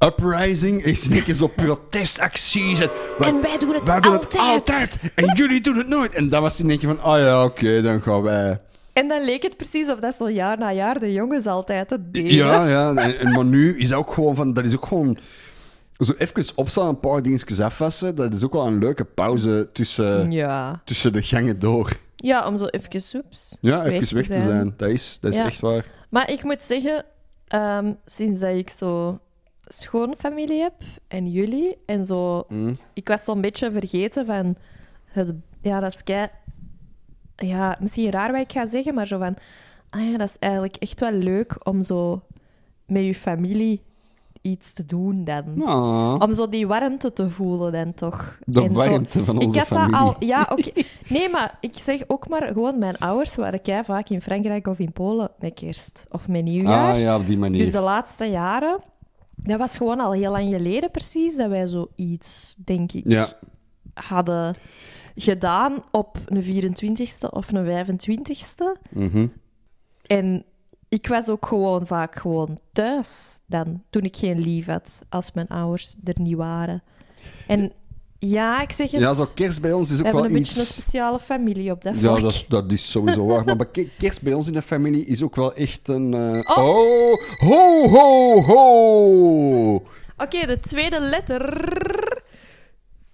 S2: uprising. Er is in één keer zo protestacties. En, wij-
S1: En wij doen het
S2: wij doen
S1: altijd.
S2: altijd. En jullie doen het nooit. En dat was in één keer van, ah ja, oké, dan gaan wij.
S1: En dan leek het precies of dat zo jaar na jaar de jongens altijd het deden.
S2: Ja, ja. En, en- maar nu is dat ook gewoon van, dat is ook gewoon... Zo even opstaan, een paar dingetjes afwassen. Dat is ook wel een leuke pauze tussen,
S1: Ja.
S2: tussen de gangen door.
S1: Ja, om zo even, oeps,
S2: Ja, even weg te, zijn. Dat is, dat is
S1: Ja.
S2: echt waar.
S1: Maar ik moet zeggen, ehm, sinds dat ik zo schoonfamilie heb en jullie en zo,
S2: Mm.
S1: ik was zo'n beetje vergeten van het, ja, dat is kei, ja, misschien raar wat ik ga zeggen, maar zo van, ah ja, dat is eigenlijk echt wel leuk om zo met je familie iets te doen dan.
S2: Nou,
S1: Om zo die warmte te voelen dan toch.
S2: De
S1: En zo-
S2: warmte van onze
S1: ik had
S2: familie.
S1: Dat al, ja,
S2: [LAUGHS]
S1: oké. Nee, maar ik zeg ook maar gewoon, mijn ouders waren kei vaak in Frankrijk of in Polen met kerst of met nieuwjaar.
S2: ah ja, op die manier.
S1: Dus de laatste jaren, dat was gewoon al heel lang geleden precies, dat wij zoiets, denk ik,
S2: Ja,
S1: hadden gedaan op een 24ste of een 25ste.
S2: mhm.
S1: En ik was ook gewoon vaak gewoon thuis dan, toen ik geen lief had, als mijn ouders er niet waren. En ja, ik zeg het,
S2: ja zo kerst bij ons is
S1: we
S2: ook
S1: hebben een
S2: wel
S1: beetje een
S2: iets...
S1: speciale familie op dat vlak.
S2: ja, dat is, dat is sowieso waar. Maar bij ke- kerst bij ons in de familie is ook wel echt een... eh,
S1: Oh.
S2: oh, ho, ho, ho!
S1: Oké, de tweede letter.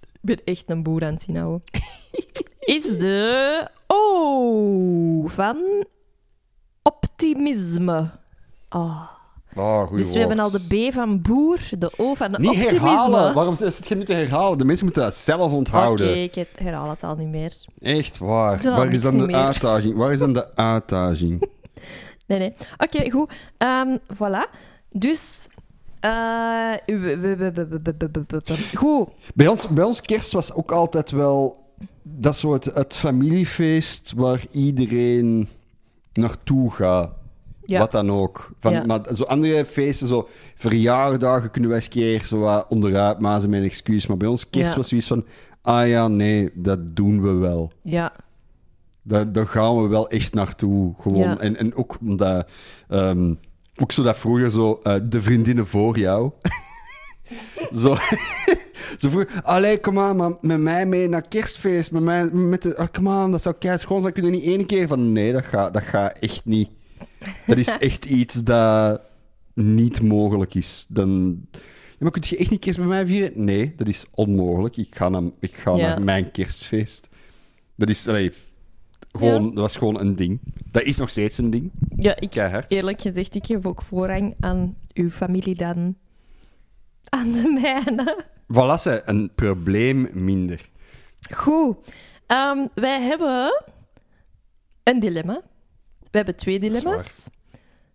S1: Ik ben echt een boer aan het zien houden. Is de O van optimisme. Oh.
S2: Ah, goeie
S1: Dus we hebben al
S2: woord.
S1: de B van boer, de O van
S2: Niet
S1: optimisme.
S2: herhalen. Waarom zit zit je nu te herhalen? De mensen moeten dat zelf
S1: Oké,
S2: onthouden.
S1: ik het- herhaal het al niet meer.
S2: Echt
S1: Ik
S2: waar.
S1: doe al
S2: Waar is
S1: niks
S2: dan
S1: niet
S2: de
S1: meer.
S2: uitdaging? Waar is dan de uitdaging?
S1: Nee, nee. Oké, goed. Ehm, voilà. Dus... eh, we- we- we- we- we- we- we- we- we- we- Goed.
S2: Bij ons, bij ons kerst was ook altijd wel dat soort het familiefeest waar iedereen naartoe gaat.
S1: Ja.
S2: Wat dan ook. Van,
S1: Ja.
S2: Maar zo andere feesten, zo verjaardagen kunnen wij eens een keer zo wat onderuit mazen met een excuus. Maar bij ons kerst
S1: Ja.
S2: was zoiets van, ah ja, nee, dat doen we wel.
S1: Ja.
S2: Daar, daar gaan we wel echt naartoe. Gewoon.
S1: Ja.
S2: En, en ook omdat... ehm, ook zo dat vroeger zo, eh, de vriendinnen voor jou. [LAUGHS] zo, [LAUGHS] zo vroeger, allee, kom aan, maar met mij mee naar kerstfeest. Met mij, met de, ah, come on, dat zou kei schoon zijn. Kun je niet één keer van, nee, dat gaat dat gaat echt niet. Dat
S1: [LAUGHS]
S2: is echt iets dat niet mogelijk is. Dan, ja, maar kun je echt niet kerst met mij vieren? Nee, dat is onmogelijk. Ik ga naar, ik ga
S1: Ja.
S2: naar mijn kerstfeest. Dat is, allee, Gewoon,
S1: Ja.
S2: Dat was gewoon een ding. Dat is nog steeds een ding.
S1: Ja, ik,
S2: Keihard.
S1: eerlijk gezegd, ik geef ook voorrang aan uw familie dan aan de mijne.
S2: Voilà, ze, een probleem minder.
S1: Goed. Ehm, wij hebben een dilemma. We hebben twee dilemma's.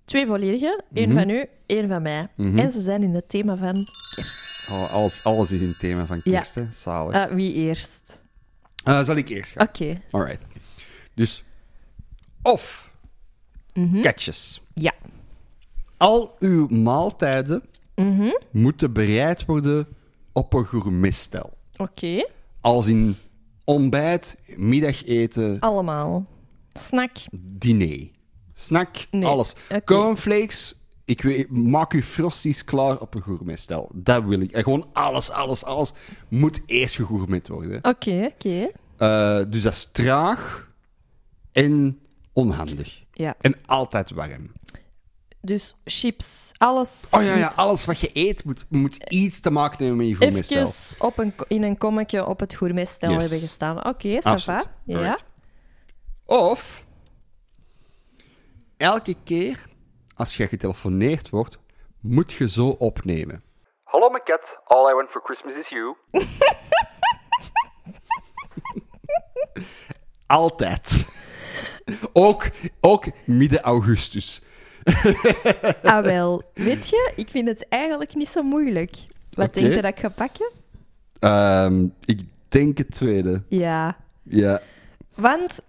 S1: Twee volledige. Eén van u, één van mij. En ze zijn in het thema van kerst.
S2: Mhm. Oh, alles, alles is een thema van kerst, hè. Zalig.
S1: Eh, wie eerst?
S2: Eh, zal ik eerst gaan?
S1: Oké.
S2: Alright. Dus, of
S1: Mhm.
S2: catches.
S1: Ja.
S2: Al uw maaltijden
S1: Mhm.
S2: moeten bereid worden op een gourmetstel.
S1: Oké.
S2: Als in ontbijt, middageten,
S1: Allemaal. Snack.
S2: Mhm. diner. Snack,
S1: Nee,
S2: alles.
S1: oké.
S2: Cornflakes, ik weet, maak u frosties klaar op een gourmetstel. Dat wil ik. En gewoon alles, alles, alles moet eerst gegourmet worden.
S1: Oké, oké.
S2: Eh, dus dat is traag en onhandig.
S1: Ja.
S2: En altijd warm.
S1: Dus chips, alles.
S2: Oh ja, ja
S1: moet
S2: alles wat je eet moet, moet iets te maken hebben met je gourmetstel.
S1: Even op een, in een kommetje op het gourmetstel
S2: Yes.
S1: hebben gestaan. Oké, ça
S2: Absoluut.
S1: va. Ja.
S2: Alright. Of elke keer als je getelefoneerd wordt, moet je zo opnemen. Hallo mijn kat, all I want for Christmas is you. [LAUGHS] Altijd. Ook, ook midden augustus.
S1: [LAUGHS] Ah wel, weet je, ik vind het eigenlijk niet zo moeilijk. Wat
S2: Oké.
S1: denk je dat ik ga pakken?
S2: Ehm, ik denk het tweede.
S1: Ja.
S2: Ja.
S1: Want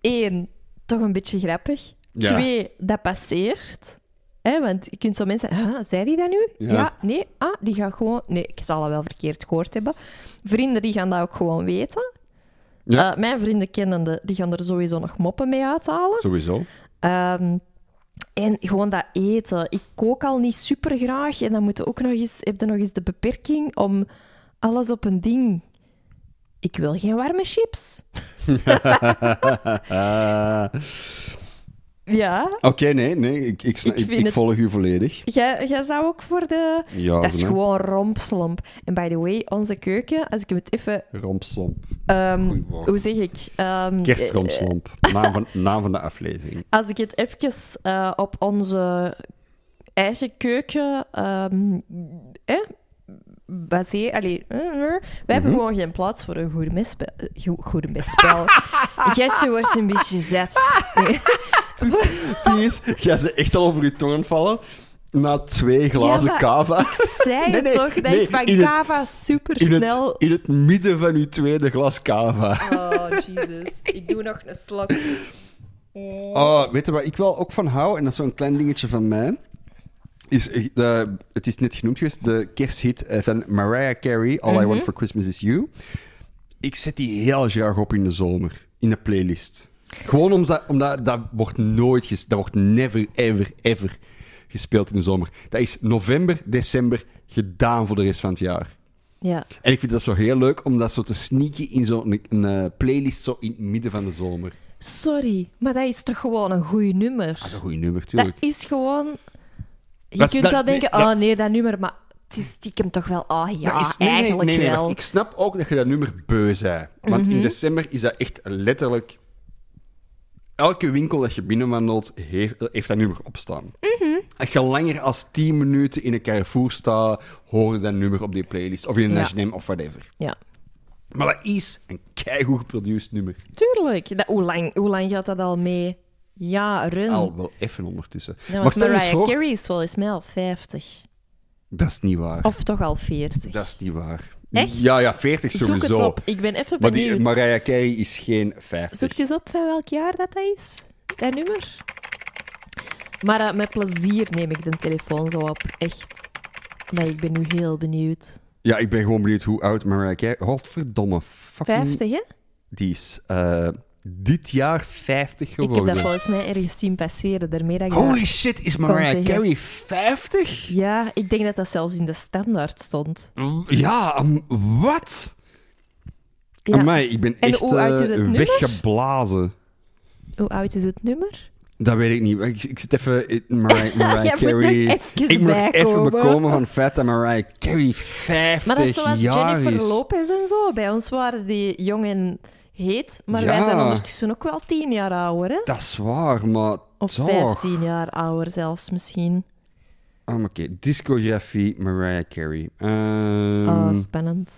S1: één, toch een beetje grappig.
S2: Ja.
S1: Twee, dat passeert. Hè, want je kunt zo mensen... "Huh, zei die dat nu?
S2: Ja.
S1: Ja. nee, ah, die gaat gewoon... Nee, ik zal dat wel verkeerd gehoord hebben. Vrienden, die gaan dat ook gewoon weten.
S2: Ja.
S1: Eh, mijn vrienden kennende, die gaan er sowieso nog moppen mee uithalen.
S2: Sowieso. [LAUGHS]
S1: Ehm, en gewoon dat eten. Ik kook al niet super graag. En dan moet je ook nog eens, heb je nog eens de beperking om alles op een ding. Ik wil geen warme chips.
S2: Ah.
S1: Ja,
S2: Oké, nee, nee, ik, ik, sna-
S1: Ik
S2: ik,
S1: vind
S2: ik
S1: het-
S2: volg u volledig.
S1: jij, jij zou ook voor de.
S2: Ja,
S1: dat is
S2: nee.
S1: gewoon rompslomp. En by the way, onze keuken, als ik het even.
S2: Rompslomp.
S1: ehm,
S2: Goeie woord.
S1: hoe zeg ik? Ehm,
S2: Kerstromslomp.
S1: eh.
S2: Naam van, naam van de aflevering.
S1: Als ik het even eh, op onze eigen keuken ehm eh, baseer... Allee, eh, eh, wij hebben
S2: Mhm.
S1: gewoon geen plaats voor een gourmetspel. Go-
S2: [LAUGHS]
S1: gourmetspel. Jesse wordt een beetje zet. Nee.
S2: Het ding is, [LAUGHS] jij ze echt al over je toren vallen na twee glazen
S1: Ja, maar
S2: cava.
S1: Zij
S2: Nee, nee,
S1: toch dat
S2: nee,
S1: ik van
S2: in het-
S1: Kava
S2: In het,
S1: supersnel...
S2: in het midden van je tweede glas cava.
S1: Oh, Jesus. Ik doe nog een slok.
S2: Oh, weet je wat ik wel ook van hou, en dat is zo'n klein dingetje van mij, is, eh, de, het is net genoemd geweest, de kersthit eh, van Mariah Carey, All I Want For Christmas Is You. Ik zet die heel graag op in de zomer, in de playlist. Gewoon omdat, omdat dat wordt nooit, ges, dat wordt never, ever, ever gespeeld in de zomer. Dat is november, december, gedaan voor de rest van het jaar.
S1: Ja.
S2: En ik vind dat zo heel leuk om dat zo te sneaken in zo'n een, eh, playlist zo in het midden van de zomer.
S1: Sorry, maar dat is toch gewoon een goed nummer?
S2: Dat is een goed nummer,
S1: Dat
S2: tuurlijk.
S1: is gewoon. Je
S2: Dat is-
S1: kunt
S2: dat-
S1: wel denken:
S2: nee,
S1: oh
S2: dat-
S1: nee, dat nummer, maar het is stiekem toch wel. Oh ja,
S2: Dat is- nee, nee,
S1: eigenlijk
S2: nee, nee,
S1: wel. Mhm.
S2: wacht. Ik snap ook dat je dat nummer beu bent. Want in december is dat echt letterlijk... Elke winkel dat je binnenwandelt, heeft, heeft dat nummer op staan.
S1: Mhm.
S2: Als je langer als 10 minuten in een Carrefour staat, hoor je dat nummer op die playlist. Of in een
S1: Ja.
S2: H&M of whatever.
S1: Ja,
S2: Maar dat is een keigoed geproduceerd nummer.
S1: tuurlijk. Dat, hoe, lang, hoe lang gaat dat al mee? Ja, run.
S2: Al wel even ondertussen.
S1: Ja,
S2: maar
S1: want
S2: stel je eens
S1: Mariah
S2: voor...
S1: Carey is volgens mij al 50.
S2: Dat is niet waar.
S1: Of toch al 40.
S2: Dat is niet waar.
S1: Oh. Echt?
S2: Ja, ja, 40
S1: Zoek
S2: sowieso.
S1: het op. Ik ben even
S2: Maar die
S1: benieuwd.
S2: Mariah Carey is geen 50.
S1: Zoek het eens op van welk jaar dat, dat is. Dat nummer. Maar eh, met plezier neem ik de telefoon zo op. Echt. Maar ik ben nu heel benieuwd.
S2: Ja, ik ben gewoon benieuwd hoe oud Mariah Carey... Godverdomme, fucking...
S1: 50, hè?
S2: Die is eh, dit jaar 50
S1: Ik heb
S2: geworden.
S1: dat volgens mij ergens zien passeren. Daarmee dat ik dat-
S2: Holy shit, is Mariah
S1: zeggen.
S2: Carey 50?
S1: Ja, ik denk dat dat zelfs in de standaard stond.
S2: Ja, am- wat?
S1: Ja.
S2: Amai, ik ben
S1: En
S2: echt
S1: hoe oud is
S2: eh,
S1: het nummer?
S2: weggeblazen.
S1: Hoe oud is het nummer?
S2: Dat weet ik niet. Ik, ik zit even... in
S1: [LAUGHS]
S2: Mariah, Mariah
S1: Jij moet
S2: Carey...
S1: er even
S2: ik moet
S1: bij
S2: nog even
S1: komen.
S2: bekomen van het feit dat Mariah Carey
S1: Maar dat is
S2: 50
S1: zoals
S2: jaar
S1: Jennifer
S2: is.
S1: Lopez en zo. Bij ons waren die jong en heet. Maar
S2: Ja.
S1: wij zijn ondertussen ook wel tien jaar ouder, hè?
S2: Dat is waar, maar
S1: Of
S2: toch.
S1: vijftien jaar ouder zelfs misschien.
S2: Ah, maar Oké, discografie Mariah Carey. Ehm,
S1: Oh, spannend.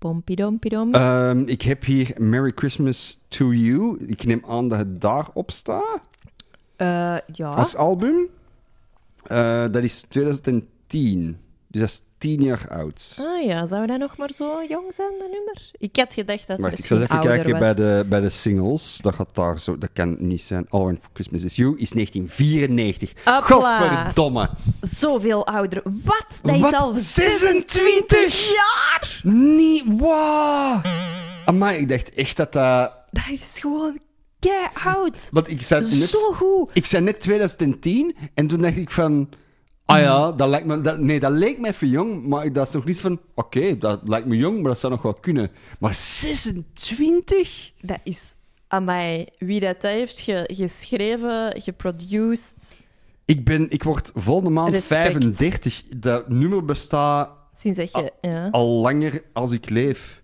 S1: Pompidompidom.
S2: ehm, ik heb hier Merry Christmas to You. Ik neem aan dat het daarop staat
S1: Eh, ja.
S2: als album. Eh, dat is 2010. Dus dat is 10 jaar oud.
S1: Ah ja, zou dat nog maar zo jong zijn, dat nummer? Ik had gedacht dat het
S2: Wacht, ik
S1: misschien
S2: zal eens even
S1: ouder
S2: kijken
S1: was.
S2: bij de, bij de singles. Dat gaat daar zo. Dat kan niet zijn. All I Want for Christmas is You is 1994.
S1: Hopla.
S2: Godverdomme.
S1: Zoveel ouder. Wat? Dat
S2: Wat?
S1: is al
S2: 26
S1: jaar!
S2: Niet waar. Amai, ik dacht echt dat dat...
S1: Dat is gewoon kei oud.
S2: Want ik zei net...
S1: Zo goed.
S2: Ik zei net 2010 en toen dacht ik van... Ah ja, dat lijkt me, dat, nee, dat leek me even jong, maar ik dacht nog niet van... Oké, dat lijkt me jong, maar dat zou nog wel kunnen. Maar 26?
S1: Dat is aan mij. Wie dat heeft ge- geschreven, geproduced,
S2: Ik, ben, ik word volgende maand
S1: Respect.
S2: 35. Dat nummer bestaat
S1: sinds dat je... ja.
S2: al langer als ik leef.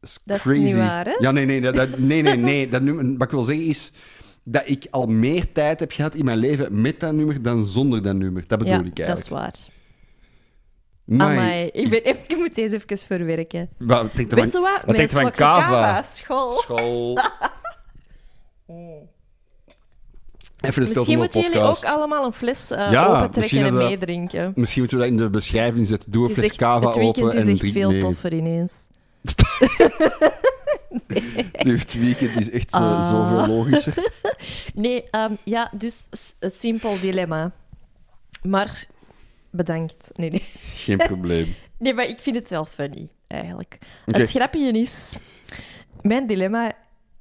S2: Is
S1: Dat is
S2: crazy.
S1: niet waar, hè?
S2: Ja, nee, nee, dat, dat- nee, nee,
S1: [LAUGHS]
S2: nee. Dat nummer, wat ik wil zeggen is dat ik al meer tijd heb gehad in mijn leven met dat nummer dan zonder dat nummer. Dat bedoel
S1: Ja,
S2: ik
S1: dat is
S2: eigenlijk.
S1: waar.
S2: Amai.
S1: Amai, ik, ben [LAUGHS] even, ik moet deze even verwerken.
S2: Wat wat denk je
S1: Weet je
S2: van,
S1: wat?
S2: wat
S1: Met een
S2: denk je van
S1: slokje
S2: Kava?
S1: kava, school.
S2: School. Even een
S1: Misschien
S2: stilte onder de
S1: moeten jullie
S2: podcast.
S1: ook allemaal een fles eh,
S2: Ja, misschien
S1: opentrekken en
S2: dat we-
S1: meedrinken.
S2: Misschien moeten we dat in de beschrijving zetten. Doe een
S1: Het, is
S2: fles
S1: echt,
S2: kava
S1: het
S2: open
S1: weekend
S2: en
S1: is echt
S2: drink
S1: veel
S2: mee.
S1: toffer ineens.
S2: [LAUGHS] Het weekend is echt eh,
S1: Ah.
S2: zoveel logischer.
S1: Nee, ehm, ja, dus s- een simpel dilemma. Maar bedankt. Nee, [LAUGHS] nee.
S2: Geen probleem.
S1: nee, maar ik vind het wel funny, eigenlijk.
S2: Oké.
S1: Het grapje is, mijn dilemma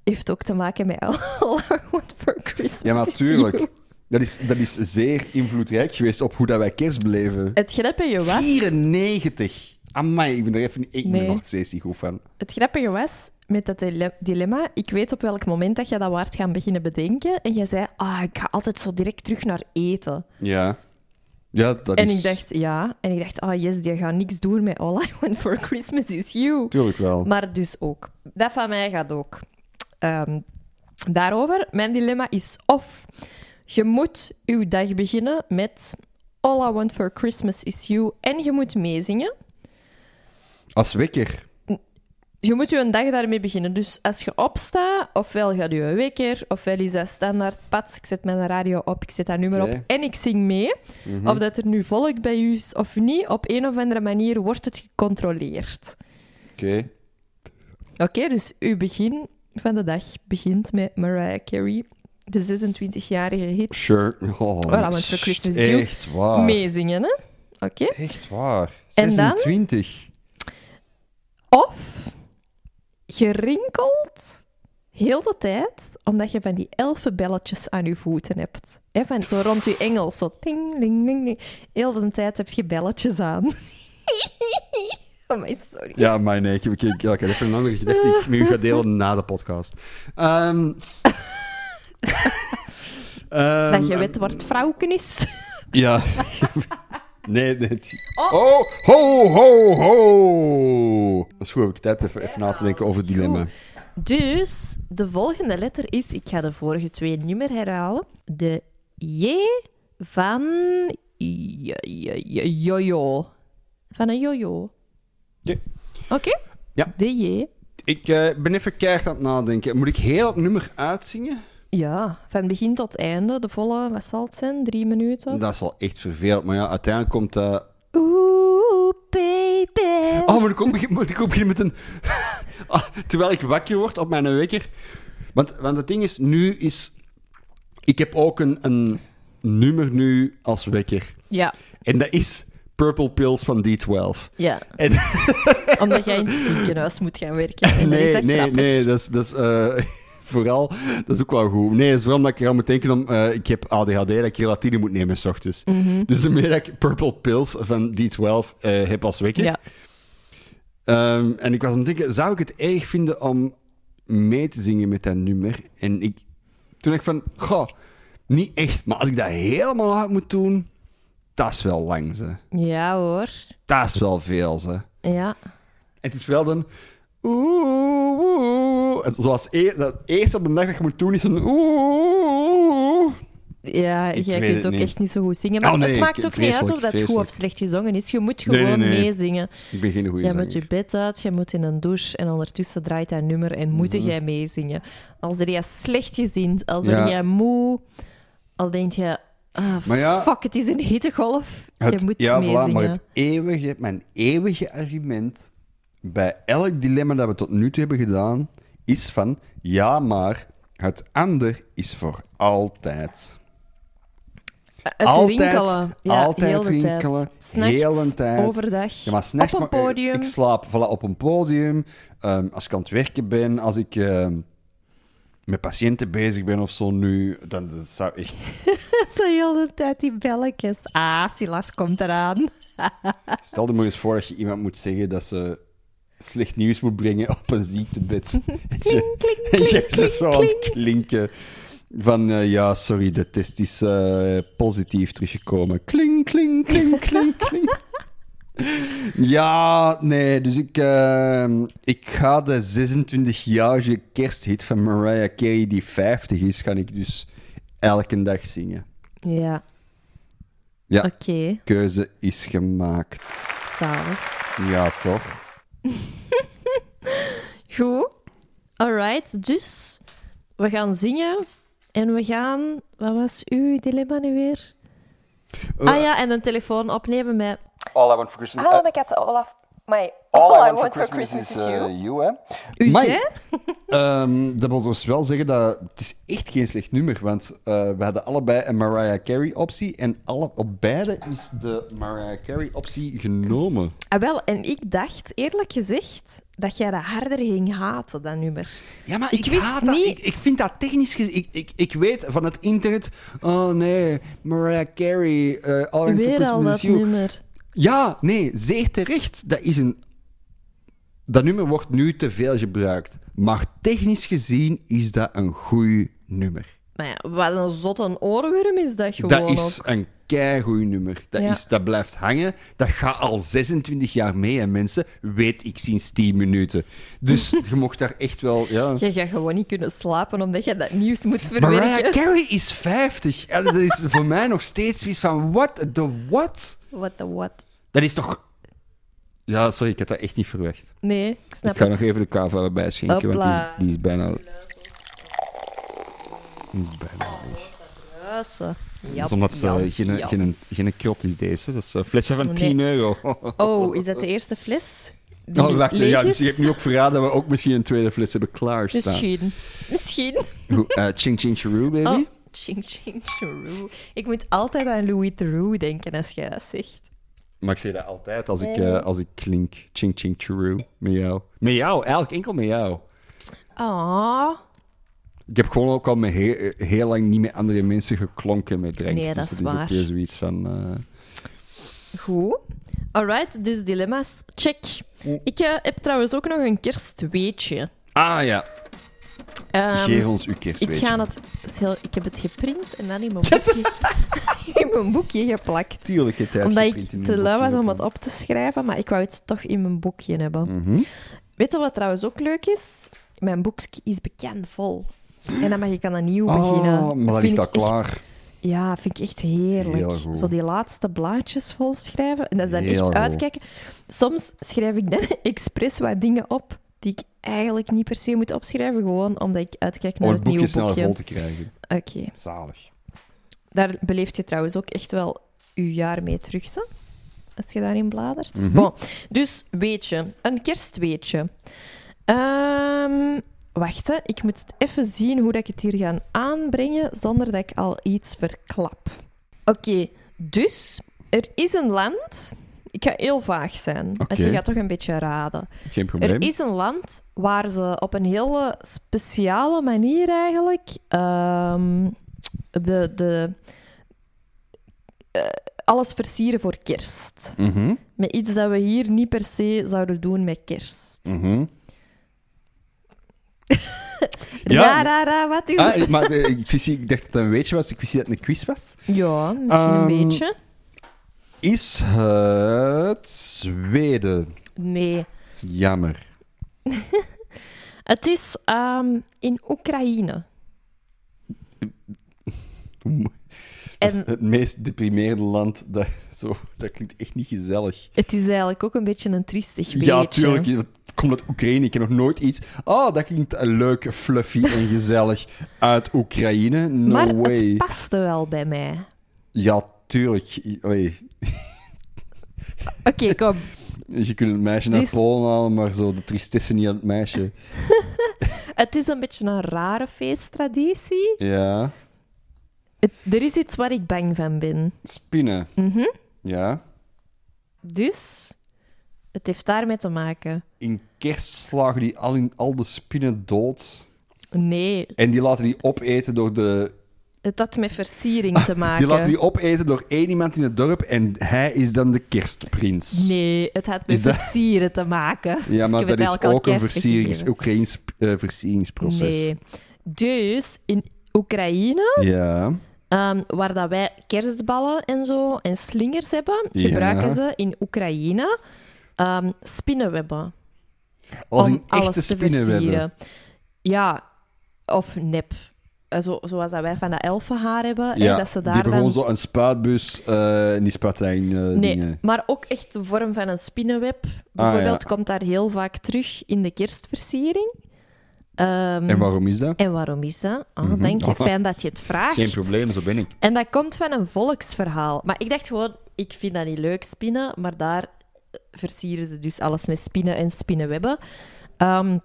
S1: heeft ook te maken met [LAUGHS] All I Want For Christmas
S2: Ja,
S1: Is
S2: natuurlijk.
S1: You.
S2: Dat is, dat is zeer invloedrijk geweest op hoe dat wij kerst beleven.
S1: Het grapje was...
S2: 94! Amai, ik ben er even ik ben
S1: Nee.
S2: er nog steeds niet goed van.
S1: Het grappige was met dat dile- dilemma. Ik weet op welk moment dat je dat waard gaan beginnen bedenken. En jij zei, ah, ik ga altijd zo direct terug naar eten.
S2: Ja. Ja, dat
S1: En
S2: is...
S1: ik dacht, ja. En ik dacht, ah, yes, die gaat niks doen met All I Want For Christmas Is You.
S2: Tuurlijk wel.
S1: Maar dus ook. Dat van mij gaat ook. Ehm, daarover, mijn dilemma is of je moet uw dag beginnen met All I Want For Christmas Is You en je moet meezingen.
S2: Als wekker.
S1: je moet je een dag daarmee beginnen. Dus als je opstaat, ofwel gaat je een wekker, ofwel is dat standaard pats. Ik zet mijn radio op, ik zet dat nummer
S2: Oké.
S1: op en ik zing mee. Of dat er nu volk bij u is of niet, op een of andere manier wordt het gecontroleerd.
S2: Oké.
S1: Oké, dus uw begin van de dag begint met Mariah Carey, de 26-jarige hit.
S2: Sure. Oh,
S1: Voilà, want voor Christmas is you.
S2: Echt waar.
S1: Meezingen, hè? Oké.
S2: Echt waar.
S1: En dan?
S2: 26.
S1: Of gerinkeld heel de tijd, omdat je van die elfenbelletjes aan je voeten hebt. Hè, van zo rond je engels, zo ting, ling, ling, ling. Heel de tijd heb je belletjes aan. [LAUGHS] oh my, sorry.
S2: Ja, maar nee, ik, ik, ik, ja, ik had even een andere gedachte die ik met u ga delen na de podcast.
S1: [LAUGHS]
S2: Ehm Ehm,
S1: Dat je weet wat het vrouwken is.
S2: Ja. nee, nee. Oh.
S1: Oh.
S2: ho, ho, ho. Dat is goed, heb ik tijd even, even na te denken over het dilemma.
S1: Dus de volgende letter is, ik ga de vorige twee niet meer herhalen, de J van J- J- J- jojo. Van een jojo.
S2: Oké.
S1: Oké?
S2: Ja.
S1: De J.
S2: Ik eh, ben even keihard aan het nadenken. Moet ik heel dat nummer uitzingen?
S1: Ja, van begin tot einde, de volle, wat zal het zijn, drie minuten?
S2: Dat is wel echt vervelend, maar ja, uiteindelijk komt eh, dat...
S1: Oeh, baby.
S2: Oh, moet ik ook beginnen, moet ik ook beginnen met een... [LAUGHS] Ah, terwijl ik wakker word op mijn wekker. Want, want het ding is, nu is... Ik heb ook een, een nummer nu als wekker.
S1: Ja,
S2: En dat is Purple Pills van D12.
S1: ja, [LAUGHS]
S2: En...
S1: omdat jij in het ziekenhuis moet gaan werken. En dat is
S2: Nee,
S1: echt
S2: nee,
S1: grappig.
S2: nee, dat is, dat is eh, [LAUGHS] vooral, dat is ook wel goed. Nee, dat is wel omdat ik eraan moet denken om, eh, ik heb ADHD, dat ik gelatine moet nemen s ochtends.
S1: Mhm.
S2: Dus de meer dat ik Purple Pills van D12 eh, heb als wekker.
S1: Ja,
S2: Ehm, en ik was aan het denken, zou ik het erg vinden om mee te zingen met dat nummer? En ik, toen dacht ik van, goh, niet echt, maar als ik dat helemaal hard moet doen, dat is wel lang, ze.
S1: ja hoor.
S2: Dat is wel veel, ze.
S1: Ja,
S2: Het is wel dan. Oeh, oeh. En zoals e dat eerst op de dag dat je moet doen is een oeh.
S1: Ja,
S2: Ik
S1: jij
S2: weet
S1: kunt
S2: het
S1: ook
S2: niet.
S1: echt niet zo goed zingen. Maar
S2: Oh, nee,
S1: het
S2: ik-
S1: maakt ook niet uit of
S2: vreselijk,
S1: dat goed
S2: vreselijk.
S1: of slecht gezongen is. Je moet
S2: Nee,
S1: gewoon
S2: nee, nee.
S1: meezingen.
S2: Ik ben geen goede
S1: Jij
S2: zanger.
S1: moet je bed uit, jij moet in een douche en ondertussen draait dat nummer en moet
S2: Mhm.
S1: jij meezingen. Als er jij slecht gezind, als er
S2: Ja.
S1: jij moe, al denk je, ah,
S2: Maar ja,
S1: fuck, het is een hittegolf.
S2: Het,
S1: je moet
S2: ja,
S1: meezingen.
S2: voilà, maar het eeuwige, mijn eeuwige argument bij elk dilemma dat we tot nu toe hebben gedaan, is van ja, maar het ander is voor altijd.
S1: Het
S2: altijd,
S1: rinkelen. Ja,
S2: altijd
S1: heel de
S2: rinkelen,
S1: Tijd. S'nachts,
S2: heel de tijd.
S1: overdag,
S2: Ja, maar s'nachts
S1: op een
S2: maar- eh,
S1: podium.
S2: Ik slaap voilà, op een podium. ehm, als ik aan het werken ben, als ik ehm, met patiënten bezig ben of zo nu, dan dat zou echt.
S1: [LAUGHS] Zo heel de tijd die belletjes. Ah, Silas komt eraan.
S2: Stel je maar eens voor dat je iemand moet zeggen dat ze slecht nieuws moet brengen op een ziektebed. [LAUGHS]
S1: Klink, klink,
S2: En
S1: klink,
S2: jij
S1: klink,
S2: is zo aan het
S1: klink.
S2: klinken. Van eh, ja, sorry, de test is eh, positief teruggekomen. Kling, kling, kling, kling, [LAUGHS] kling. Ja, nee, dus ik, eh, ik ga de 26-jarige kersthit van Mariah Carey, die 50 is, ga ik dus elke dag zingen.
S1: Ja.
S2: Ja.
S1: Oké,
S2: Keuze is gemaakt.
S1: zalig.
S2: Ja, toch?
S1: Goed. Alright, dus we gaan zingen en we gaan... Wat was uw dilemma nu weer?
S2: Eh,
S1: ah ja, en een telefoon opnemen met...
S2: All I want for Christmas,
S1: Hallo, ik had Ah, Olaf...
S2: Oh,
S1: My,
S2: eh, you, hè?
S1: U
S2: Amai.
S1: zei?
S2: Ehm, dat wil dus wel zeggen dat het is echt geen slecht nummer want eh, we hadden allebei een Mariah Carey optie en alle, op beide is de Mariah Carey optie genomen.
S1: Ah, wel, en ik dacht, eerlijk gezegd, dat jij dat harder ging haten, dat nummer.
S2: Ja, maar
S1: Ik wist niet-
S2: ik, ik vind dat technisch gezien... Ik, ik, ik weet van het internet... Oh nee, Mariah Carey, eh All I Want For
S1: Weer al
S2: Christmas
S1: dat
S2: Is You.
S1: nummer.
S2: Ja, nee, zeer terecht. Dat, is een... dat nummer wordt nu te veel gebruikt. Maar technisch gezien is dat een goed nummer.
S1: Maar ja, wat een zot een oorworm is dat gewoon
S2: Dat is
S1: ook.
S2: een keigoed nummer. Dat,
S1: Ja.
S2: is, dat blijft hangen. Dat gaat al 26 jaar mee, hè, mensen. Weet ik sinds 10 minuten.
S1: [LAUGHS]
S2: Dus je mocht daar echt wel... Ja.
S1: Je gaat gewoon niet kunnen slapen omdat je dat nieuws moet verwerken.
S2: Mariah Carey is 50. En dat is voor mij nog steeds iets van... What the what?
S1: What the what?
S2: Dat is toch... Ja, sorry, ik had dat echt niet verwacht.
S1: Nee, ik snap
S2: Ik ga
S1: het.
S2: nog even de kava erbij schenken, want die
S1: Hopla.
S2: is, die is bijna... Die is bijna...
S1: Kruisen.
S2: Dat
S1: Jap,
S2: is omdat ze
S1: jap,
S2: geen,
S1: jap.
S2: geen, geen krot is deze. Dat is eh, flessen van
S1: Nee.
S2: 10 euro.
S1: Oh, is dat de eerste fles? Die
S2: Oh, wacht.
S1: leeg
S2: Ja, dus
S1: is?
S2: je hebt nu ook verraden dat we ook misschien een tweede fles hebben klaarstaan.
S1: Misschien. Misschien.
S2: Goed, eh, ching ching cheroe, baby.
S1: Oh, ching ching Theroux. Ik moet altijd aan Louis Theroux denken als jij dat zegt.
S2: Maar ik zeg dat altijd als
S1: Oh.
S2: ik, eh, als ik klink. Ching ching cheroe. Met jou. Met jou, eigenlijk enkel met jou.
S1: Oh,
S2: Ik heb gewoon ook al met he- eh, heel, lang niet met andere mensen geklonken met drank.
S1: Nee, dat
S2: dus
S1: is
S2: dat is
S1: waar.
S2: ook weer zoiets van... eh,
S1: goed. Alright, dus dilemma's, check. Ik eh, heb trouwens ook nog een kerstweetje.
S2: Ah ja,
S1: Ehm,
S2: geef ons uw kerstweetje.
S1: ik, ga het, het is heel- ik heb het geprint en dan in mijn boekje, [LAUGHS] in mijn boekje geplakt.
S2: Tuurlijk, het
S1: Omdat ik te lui was om het op te schrijven, maar ik wou het toch in mijn boekje hebben.
S2: Mhm.
S1: Weet je wat trouwens ook leuk is? Mijn boekje is bekend vol. En dan mag ik aan een nieuw beginnen.
S2: Oh, maar dan is
S1: Vind ik
S2: dat
S1: echt-
S2: klaar.
S1: ja, vind ik echt heerlijk.
S2: Heel goed.
S1: Zo die laatste blaadjes vol schrijven. En dat is dan
S2: Heel
S1: echt
S2: goed.
S1: uitkijken. Soms schrijf ik dan [LAUGHS] expres wat dingen op die ik eigenlijk niet per se moet opschrijven, gewoon omdat ik uitkijk naar
S2: Om
S1: het,
S2: Oh, het boekje
S1: nieuwe
S2: sneller
S1: boekje.
S2: vol te krijgen.
S1: Oké.
S2: Zalig.
S1: Daar beleef je trouwens ook echt wel je jaar mee terug, hè? als je daarin bladert. Bon. Dus weetje, een kerstweetje. Ehm, wacht, hè. ik moet het even zien hoe dat ik het hier ga aanbrengen zonder dat ik al iets verklap. Oké, dus er is een land. Ik ga heel vaag zijn, want je
S2: Oké.
S1: gaat toch een beetje raden.
S2: Geen probleem.
S1: Er is een land waar ze op een hele speciale manier eigenlijk ehm, de, de, eh, alles versieren voor kerst.
S2: Mhm,
S1: Met iets dat we hier niet per se zouden doen met kerst.
S2: mhm.
S1: Ja, ra, ra, wat is het?
S2: Ah, maar eh, ik, wist, niet- ik dacht dat het een weetje was, ik wist niet dat het een quiz was.
S1: Ja, misschien
S2: Ehm,
S1: een beetje.
S2: Is het Zweden?
S1: Nee,
S2: Jammer.
S1: Het is ehm, in Oekraïne.
S2: Dat is
S1: En-
S2: het meest deprimerende land. Dat, [LAUGHS] zo, dat klinkt echt niet gezellig.
S1: Het is eigenlijk ook een beetje een triestig beetje.
S2: Ja, tuurlijk. Het komt uit Oekraïne. Ik heb nog nooit iets... Oh, dat klinkt leuk, fluffy en gezellig uit Oekraïne. No
S1: maar
S2: way.
S1: het paste wel bij mij.
S2: Ja, tuurlijk. Oei.
S1: Oké, kom.
S2: Je kunt het meisje naar
S1: Dus-
S2: Polen halen, maar zo de tristesse niet aan het meisje.
S1: Het is een beetje een rare feesttraditie.
S2: Ja.
S1: Het- er is iets waar ik bang van ben.
S2: Spinnen.
S1: Mhm.
S2: Ja.
S1: Dus, het heeft daarmee te maken.
S2: In kerst slagen die al, in, al de spinnen dood.
S1: Nee,
S2: En die laten die opeten door de...
S1: het had met versiering te maken.
S2: [LAUGHS] Die laten die opeten door één iemand in het dorp en hij is dan de kerstprins.
S1: Nee, het had met
S2: Is dat-
S1: versieren te maken. Dus
S2: [LAUGHS] Ja,
S1: ik
S2: maar
S1: heb het
S2: dat is
S1: eigenlijk al
S2: ook een
S1: keihard
S2: versierings,
S1: weggegeven.
S2: Oekraïns eh, versieringsproces.
S1: Nee. Dus, in Oekraïne
S2: Ja.
S1: Ehm, waar dat wij kerstballen en zo en slingers hebben,
S2: Ja.
S1: gebruiken ze in Oekraïne ehm, spinnenwebben.
S2: Als
S1: om
S2: een echte
S1: alles te
S2: spinnenwebben.
S1: versieren. Ja, of nep. Eh, Zo, zoals dat wij van dat elfenhaar hebben. hè,
S2: Ja,
S1: dat ze
S2: die
S1: daar
S2: hebben
S1: dan...
S2: gewoon zo een spuitbus eh, en die spuiten daarin, eh,
S1: Nee,
S2: dingen. Ah,
S1: maar ook echt de vorm van een spinnenweb. Bijvoorbeeld komt daar heel vaak terug in de kerstversiering. Ehm,
S2: En waarom is dat?
S1: en waarom is dat? Ah,
S2: Mhm.
S1: Dank
S2: [LAUGHS]
S1: je, fijn dat je het vraagt.
S2: zo ben ik.
S1: En dat komt van een volksverhaal. Maar ik dacht gewoon, ik vind dat niet leuk, spinnen. Maar daar versieren ze dus alles met spinnen en spinnenwebben. Ehm,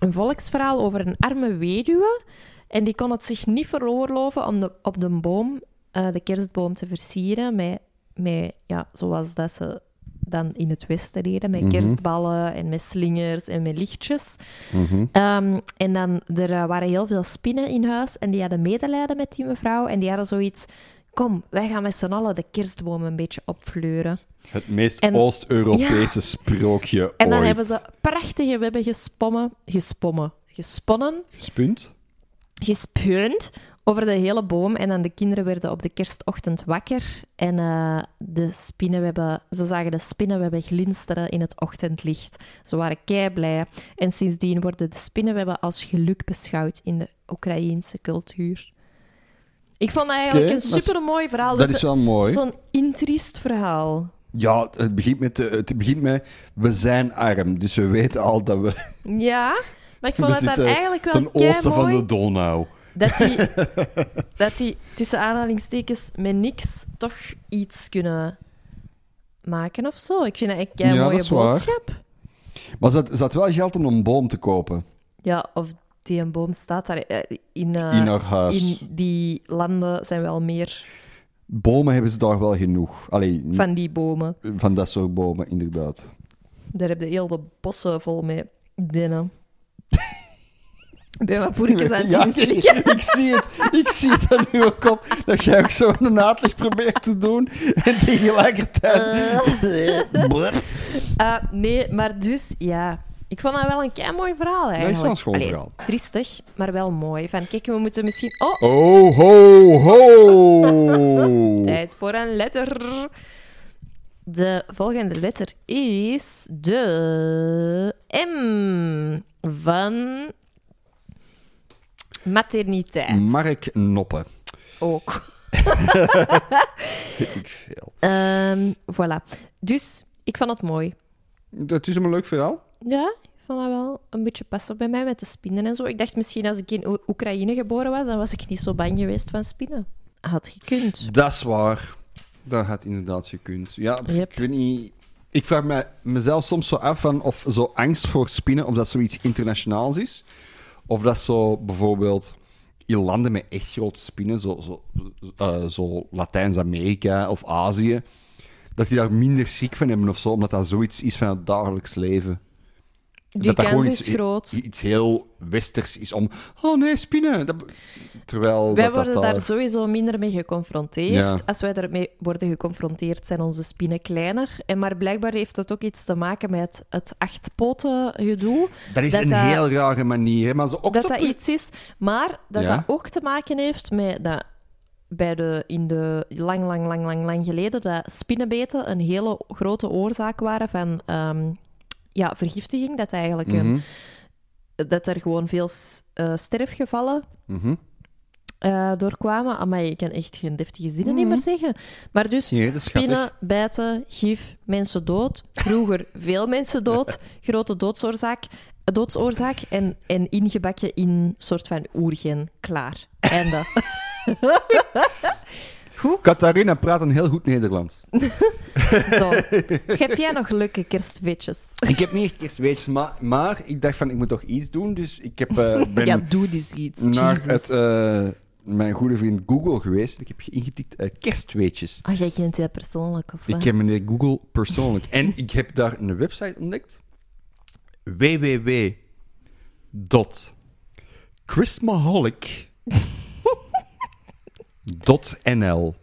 S1: een volksverhaal over een arme weduwe. En die kon het zich niet veroorloven om de, op de boom, eh, de kerstboom, te versieren. Met, met, ja, zoals dat ze dan in het Westen deden. Met kerstballen en met slingers en met lichtjes. Ehm, en dan, er eh, waren heel veel spinnen in huis en die hadden medelijden met die mevrouw. En die hadden zoiets, kom, wij gaan met z'n allen de kerstboom een beetje opvleuren.
S2: Het meest
S1: En-
S2: Oost-Europese sprookje
S1: En dan
S2: ooit.
S1: hebben ze prachtige webben gespommen, gespommen, gesponnen,
S2: Gespunt?
S1: gespeurend over de hele boom. En dan de kinderen werden op de kerstochtend wakker. En eh, de spinnenwebben, ze zagen de spinnenwebben glinsteren in het ochtendlicht. Ze waren kei blij. En sindsdien worden de spinnenwebben als geluk beschouwd in de Oekraïense cultuur. Ik vond dat eigenlijk
S2: Oké, dat
S1: een
S2: is-
S1: supermooi verhaal.
S2: Dat is wel mooi.
S1: Zo'n intriest verhaal.
S2: Ja, het begint, met, eh, het begint met... We zijn arm, dus we weten al dat
S1: [LAUGHS]
S2: we...
S1: Ja, maar ik vond dat
S2: we
S1: dan
S2: zitten
S1: eigenlijk wel
S2: ten oosten van
S1: keimooi.
S2: de Donau.
S1: dat
S2: [LAUGHS]
S1: die, dat die tussen aanhalingstekens met niks toch iets kunnen maken of zo. Ik vind dat echt een
S2: Ja,
S1: mooie
S2: dat is waar.
S1: boodschap.
S2: Maar ze had, ze had wel geld om een boom te kopen
S1: Ja, of die een boom staat daar eh, in, eh,
S2: in haar huis.
S1: in die landen zijn wel meer
S2: Bomen hebben ze daar wel genoeg. Allee, niet van...
S1: van die bomen.
S2: dat soort bomen, inderdaad.
S1: Daar heb je heel de bossen vol mee dennen. Ik ben wat
S2: [LAUGHS]
S1: poerkjes aan het
S2: Ja,
S1: inslikken.
S2: ik zie het. Ik zie het aan uw kop. Dat jij ook zo een uitleg probeert te doen. [LAUGHS] En tegelijkertijd... [LAUGHS] Bleh.
S1: Eh, nee, maar dus, ja. Ik vond dat wel een kei mooi verhaal eigenlijk.
S2: wel een schoon
S1: Allee,
S2: verhaal.
S1: Triestig, maar wel mooi. Van kijk, we moeten misschien... Oh,
S2: Oh, ho, ho.
S1: tijd voor een letter. De volgende letter is de M van materniteit.
S2: Mark Noppen.
S1: Ook.
S2: Weet ik veel.
S1: Ehm, voilà. Dus ik vond het mooi.
S2: Dat is een leuk verhaal.
S1: Ja, ik vond dat wel een beetje passen bij mij met de spinnen en zo. Ik dacht misschien als ik in Oe- Oekraïne geboren was, dan was ik niet zo bang geweest van spinnen. Had gekund.
S2: Dat is waar. Dat had inderdaad gekund. Ja,
S1: Yep.
S2: ik weet niet... Ik vraag me, mezelf soms zo af van of zo angst voor spinnen, of dat zoiets internationaals is. Of dat zo bijvoorbeeld in landen met echt grote spinnen, zo, zo, eh, zo Latijns-Amerika of Azië, dat die daar minder schrik van hebben of zo, omdat dat zoiets is van het dagelijks leven.
S1: Die
S2: dat dat
S1: kans
S2: gewoon
S1: is
S2: iets,
S1: groot.
S2: iets heel westers is om. Oh nee, spinnen. Dat- terwijl.
S1: Wij
S2: dat, dat
S1: worden daar
S2: daar-
S1: sowieso minder mee geconfronteerd.
S2: Ja.
S1: Als wij ermee worden geconfronteerd, zijn onze spinnen kleiner. En maar blijkbaar heeft dat ook iets te maken met het achtpoten gedoe.
S2: Dat is
S1: dat
S2: een
S1: dat-
S2: heel rare manier. hè, Maar zo ook
S1: Dat
S2: tot-
S1: dat iets is. Maar dat
S2: Ja.
S1: dat ook te maken heeft met dat bij de, in de lang, lang, lang, lang, lang geleden dat spinnenbeten een hele grote oorzaak waren van ehm, ja, vergiftiging, dat eigenlijk een-
S2: Mhm,
S1: dat er gewoon veel s- eh, sterfgevallen
S2: mhm.
S1: eh, doorkwamen. Amai, ik kan echt geen deftige zinnen
S2: Mhm.
S1: meer zeggen. Maar dus
S2: Nee, dat is
S1: spinnen,
S2: schattig.
S1: bijten, gif, mensen dood. Vroeger [LAUGHS] veel mensen dood. Grote doodsoorzaak. Doodsoorzaak en, en ingebakken in soort van oergen. Klaar.
S2: [LAUGHS]
S1: Einde.
S2: Catharina praat een heel goed Nederlands.
S1: Zo. Heb jij nog leuke kerstweetjes?
S2: [LAUGHS] Ik heb niet echt kerstweetjes, maar, maar ik dacht van, ik moet toch iets doen. Dus ik heb, eh, ben
S1: [LAUGHS] Ja, doe eens iets.
S2: naar
S1: Jesus.
S2: het, eh, mijn goede vriend Google geweest. Ik heb ingetikt eh, kerstweetjes.
S1: Ah, jij kent die persoonlijk, of
S2: Ik
S1: wat?
S2: ken meneer Google persoonlijk. En ik heb daar een website ontdekt. www.christmaholic.nl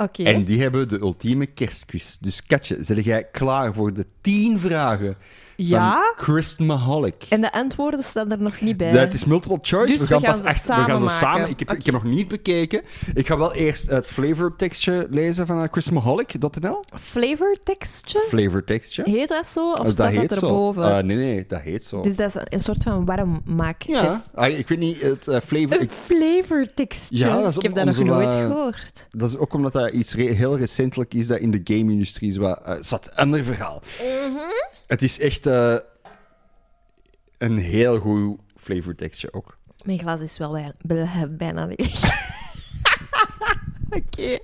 S1: Oké.
S2: En die hebben de ultieme kerstquiz. Dus Katje, zet jij klaar voor de 10 vragen
S1: Ja?
S2: van Christmaholic?
S1: En de antwoorden staan er nog niet bij.
S2: Dat is multiple choice.
S1: Dus
S2: we gaan,
S1: we gaan
S2: pas
S1: ze
S2: achter, we
S1: samen
S2: gaan ze
S1: maken.
S2: samen. Ik heb, ik heb nog niet bekeken. Ik ga wel eerst het flavortekstje lezen van eh, chrismaholic.nl.
S1: Flavor texture?
S2: Flavortekstje.
S1: Heet dat zo? Of
S2: Als Dus dat
S1: staat
S2: heet
S1: dat
S2: zo.
S1: erboven?
S2: Eh, nee, nee, dat heet zo.
S1: Dus dat is een soort van
S2: ja.
S1: warmmaaktest.
S2: Ah, ik weet niet, het eh, flavor.
S1: Een
S2: ik-
S1: flavor texture.
S2: Ja, dat is
S1: ik
S2: om-
S1: heb dat nog
S2: om zo
S1: nooit
S2: wat-
S1: gehoord.
S2: dat is ook omdat dat iets re- heel recentelijk is dat in de game-industrie is. Wat, eh, is wat een ander verhaal. Het is echt eh, een heel goed flavortekstje ook.
S1: Mijn glas is wel bijna, bijna- [LAUGHS] bijna leeg. Oké.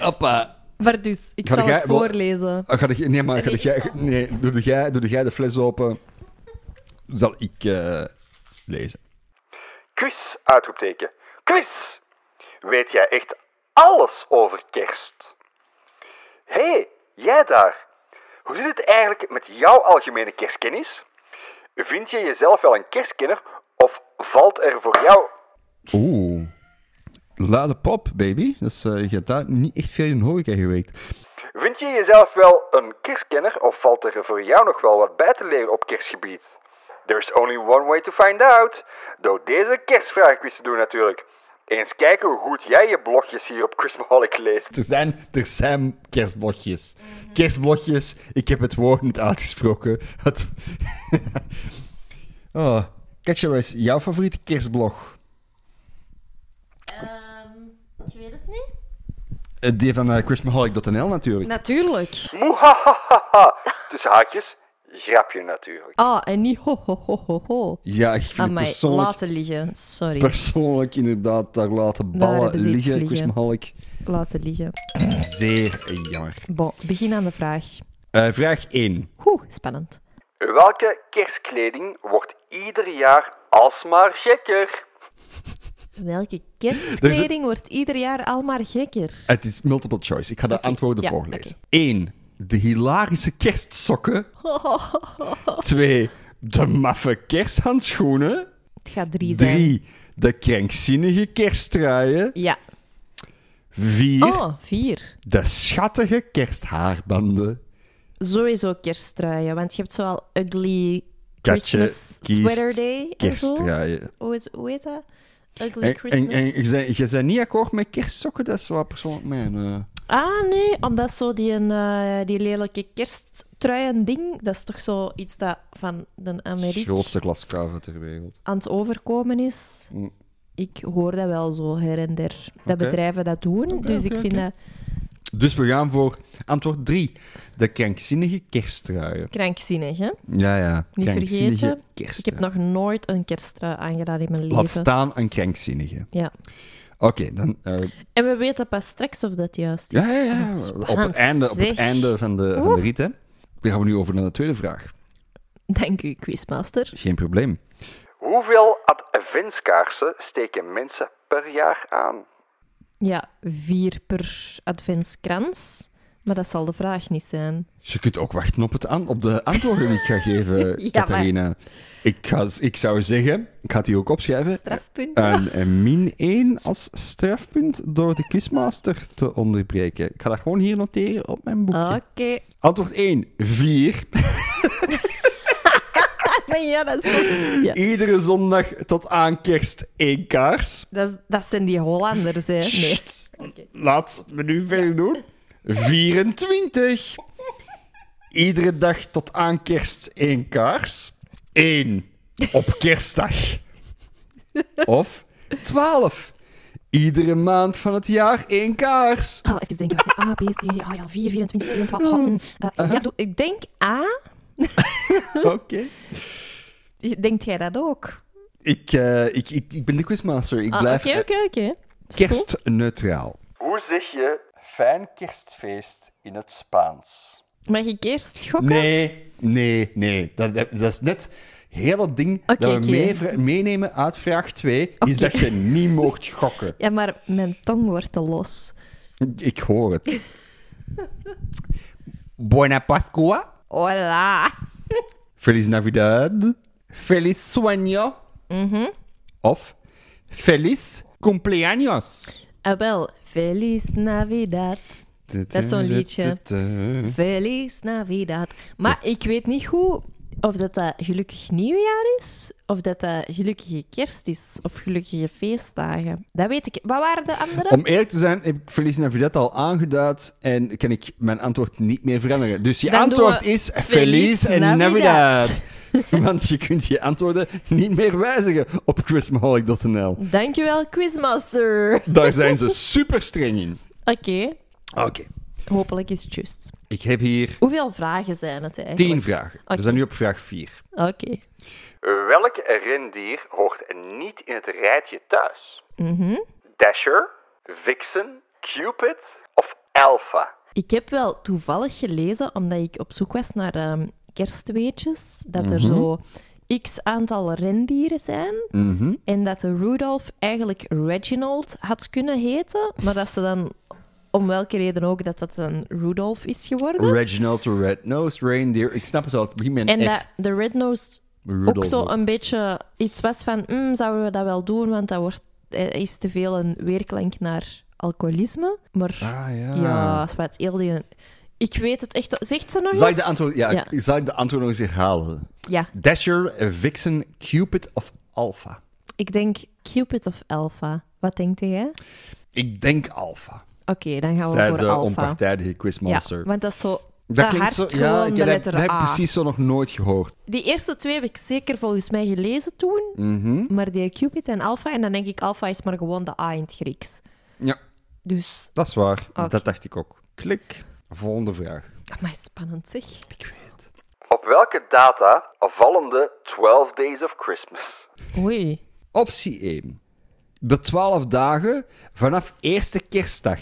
S2: Hoppa.
S1: Maar dus, ik
S2: Ga
S1: zal
S2: jij
S1: het
S2: wel-
S1: voorlezen.
S2: Ah, ga de- nee, maar ga
S1: Nee,
S2: de-
S1: ik
S2: jij, nee, doe, de, jij, doe de, jij de fles open. Zal ik eh, lezen.
S3: Quiz, uitroepteken. Quiz! Weet jij echt alles over kerst? Hé, hey, jij daar. Hoe zit het eigenlijk met jouw algemene kerstkennis? Vind je jezelf wel een kerstkenner of valt er voor jou...
S2: Oeh. Lade pop, baby. Dat is, eh, je hebt daar niet echt veel in horeca geweest.
S3: Vind je jezelf wel een kerstkenner of valt er voor jou nog wel wat bij te leren op kerstgebied? There's only one way to find out. Door deze kerstvragenquiz te doen natuurlijk. Eens kijken hoe goed jij je blogjes hier op Christmaholic leest.
S2: Er zijn, er zijn kerstblokjes.
S1: Mhm.
S2: Kerstblokjes, ik heb het woord niet uitgesproken. Het... [LAUGHS] oh. Katja, wat is jouw favoriete kerstblog?
S1: Ehm, ik weet het niet.
S2: Eh, Die van eh, christmaholic.nl natuurlijk.
S1: Natuurlijk.
S3: Moehahaha. Tussen haakjes, grapje natuurlijk.
S1: Ah, en niet ho ho ho ho ho.
S2: Ja, ik vind het
S1: Amai,
S2: persoonlijk,
S1: laten liggen. Sorry,
S2: persoonlijk inderdaad daar laten
S1: Daar
S2: ballen
S1: hebben ze iets
S2: liggen.
S1: liggen.
S2: Christmaholic,
S1: laten liggen.
S2: zeer jammer.
S1: Bon, begin aan de vraag.
S2: Eh, vraag 1.
S1: Oeh, spannend.
S3: Welke kerstkleding wordt ieder jaar alsmaar gekker?
S1: Welke kerstkleding wordt ieder jaar al maar gekker?
S2: Het is multiple choice. Ik ga de
S1: Oké,
S2: antwoorden
S1: ja,
S2: voorlezen. 1. De hilarische
S1: [LAUGHS]
S2: kerstsokken. 2. De maffe kersthandschoenen.
S1: Het gaat drie zijn.
S2: 3. De krankzinnige kerstdraaien.
S1: Ja.
S2: 4.
S1: Oh, vier.
S2: De schattige kersthaarbanden.
S1: Sowieso kerstruien, want je hebt zoal ugly
S2: Katje
S1: Christmas
S2: kiest
S1: sweater day en zo.
S2: Kerstdraaien.
S1: Hoe, is, hoe heet dat? Ugly
S2: En, en,
S1: Christmas.
S2: en je bent- je bent niet akkoord met kerstsokken, dat is wel persoonlijk mijn... eh.
S1: Ah, nee, omdat zo die, een, eh, die lelijke kersttruien-ding, dat is toch zo iets dat van de Amerik
S2: grootste glaskuiven ter wereld.
S1: aan het overkomen is. Ik hoor dat wel zo her en der, dat
S2: Mm. Oké.
S1: bedrijven dat doen. dus ik
S2: oké,
S1: vind
S2: oké.
S1: dat
S2: Dus we gaan voor antwoord 3. De krankzinnige kerstdraaien.
S1: krankzinnig, hè?
S2: Ja, ja.
S1: Niet
S2: krankzinnige
S1: vergeten, ik
S2: kerstdraaien.
S1: heb nog nooit een kersttrui aangedaan in mijn leven.
S2: Laat staan een krankzinnige.
S1: Ja.
S2: Oké, dan... eh,
S1: En we weten pas straks of dat juist is.
S2: Ja, ja, ja. Op het einde, op het
S1: zeg.
S2: einde van, de, van de rit, hè. Dan gaan we nu over naar de tweede vraag.
S1: Dank u, Quizmaster.
S2: Geen probleem.
S3: Hoeveel adventskaarsen steken mensen per jaar aan?
S1: Ja, vier per adventskrans. Maar dat zal de vraag niet zijn.
S2: Dus je kunt ook wachten op, het aan, op de antwoorden die ik ga
S3: [LAUGHS]
S2: geven,
S1: maar-
S2: Catharina. Ik, ga, ik zou zeggen, ik ga die ook
S1: Eh,
S2: opschrijven.
S1: Strafpunt.
S2: Een, een min 1 als strafpunt door de quizmaster te onderbreken. Ik ga dat gewoon hier noteren op mijn boekje.
S3: Oh.
S1: Ah, Oké.
S2: Antwoord 1, 4.
S1: Maar ja, dat, is zo- ja.
S2: [LAUGHS] Iedere zondag tot aan kerst één kaars.
S1: Dat, is- dat zijn die Hollanders, hè? Nee.
S2: Sst, Laat me nu verder doen. 24. Iedere dag tot aan kerst één kaars. Eén op kerstdag. Of twaalf. Iedere maand van het jaar één kaars.
S1: Oh, even denken. Wat is A, B, C, ah ja, 4, 24, 24. Oh, eh, ja, doe- ik denk A.
S2: Oké.
S1: Denkt jij dat ook?
S2: Ik, eh, ik, ik, ik ben de quizmaster. Ik
S1: Ah,
S2: blijf
S1: Oké,
S2: eh,
S1: oké, oké. Is goed.
S2: kerstneutraal.
S3: Hoe zeg je fijn kerstfeest in het Spaans?
S1: Mag ik eerst gokken?
S2: Nee, nee, nee. Dat, dat dat is net heel dat ding
S1: Oké,
S2: dat we
S1: oké.
S2: meevra- meenemen uit vraag 2, is dat je niet mocht gokken.
S1: Ja, maar mijn tong wordt te los.
S2: Ik hoor het. Buena Pascua.
S1: Hola.
S2: Feliz Navidad. Feliz Sueño.
S1: Mhm.
S2: Of Feliz Cumpleaños.
S1: Ah, wel. Feliz Navidad. Dat is zo'n liedje. Feliz Navidad. Maar ik weet niet goed of dat, dat gelukkig nieuwjaar is, of dat dat gelukkige kerst is, of gelukkige feestdagen. Dat weet ik. Wat waren de andere?
S2: Om eerlijk te zijn, heb ik Feliz Navidad al aangeduid en kan ik mijn antwoord niet meer veranderen. Dus je
S1: Dan doen
S2: antwoord
S1: we
S2: is Feliz
S1: Feliz
S2: Navidad.
S1: Navidad.
S2: [LAUGHS] Want je kunt je antwoorden niet meer wijzigen op chrismaholic.nl.
S1: Dankjewel, Quizmaster. Oké,
S2: Daar zijn ze super streng in. Oké.
S1: hopelijk is het juist.
S2: Ik heb hier
S1: Hoeveel vragen zijn het eigenlijk?
S2: tien vragen. We zijn nu op vraag vier.
S1: Oké.
S3: Welk rendier hoort niet in het rijtje thuis?
S1: Mhm.
S3: Dasher, Vixen, Cupid of Alpha?
S1: Ik heb wel toevallig gelezen, omdat ik op zoek was naar ehm, kerstweetjes, dat er zo
S2: Mhm.
S1: x aantal rendieren zijn. En dat de Rudolph eigenlijk Reginald had kunnen heten, maar dat ze dan, om welke reden ook, dat dat een Rudolph is geworden.
S2: Reginald the Red-Nosed Reindeer. Ik snap het al. Het begint met een
S1: en
S2: F.
S1: dat de Red-Nosed ook
S2: Rudolph
S1: zo
S2: ook.
S1: een beetje iets was van, "Hmm, zouden we dat wel doen, want dat wordt, eh, is te veel een weerklank naar alcoholisme. Maar
S2: Ah, ja.
S1: ja, zwart, heel die... Ik weet het echt... Zegt ze nog
S2: Zal ik
S1: eens?
S2: de antwoord, ja,
S1: Ja.
S2: Zal ik de antwoord nog eens herhalen?
S1: Ja,
S2: Dasher, Vixen, Cupid of Alpha?
S1: ik denk Cupid of Alpha. Wat denkt jij? Oké,
S2: Ik denk Alpha.
S1: dan gaan we
S2: Zij
S1: voor
S2: de
S1: Alpha.
S2: onpartijdige quizmaster.
S1: Ja, want dat is zo... Dat, hard gewoon de
S2: dat, heb-
S1: letter
S2: dat heb
S1: A.
S2: ik precies zo nog nooit gehoord.
S1: Die eerste twee heb ik zeker volgens mij gelezen toen.
S2: Mhm.
S1: Maar die Cupid en Alpha. En dan denk ik, Alpha is maar gewoon de A in het Grieks.
S2: Ja,
S1: Dus,
S2: dat is waar.
S1: Oké.
S2: Dat dacht ik ook. Klik. Volgende vraag.
S1: maar spannend zeg.
S2: Ik weet het.
S3: Op welke data vallen de 12 Days of Christmas?
S1: Oei.
S2: Optie 1. De 12 dagen vanaf eerste kerstdag.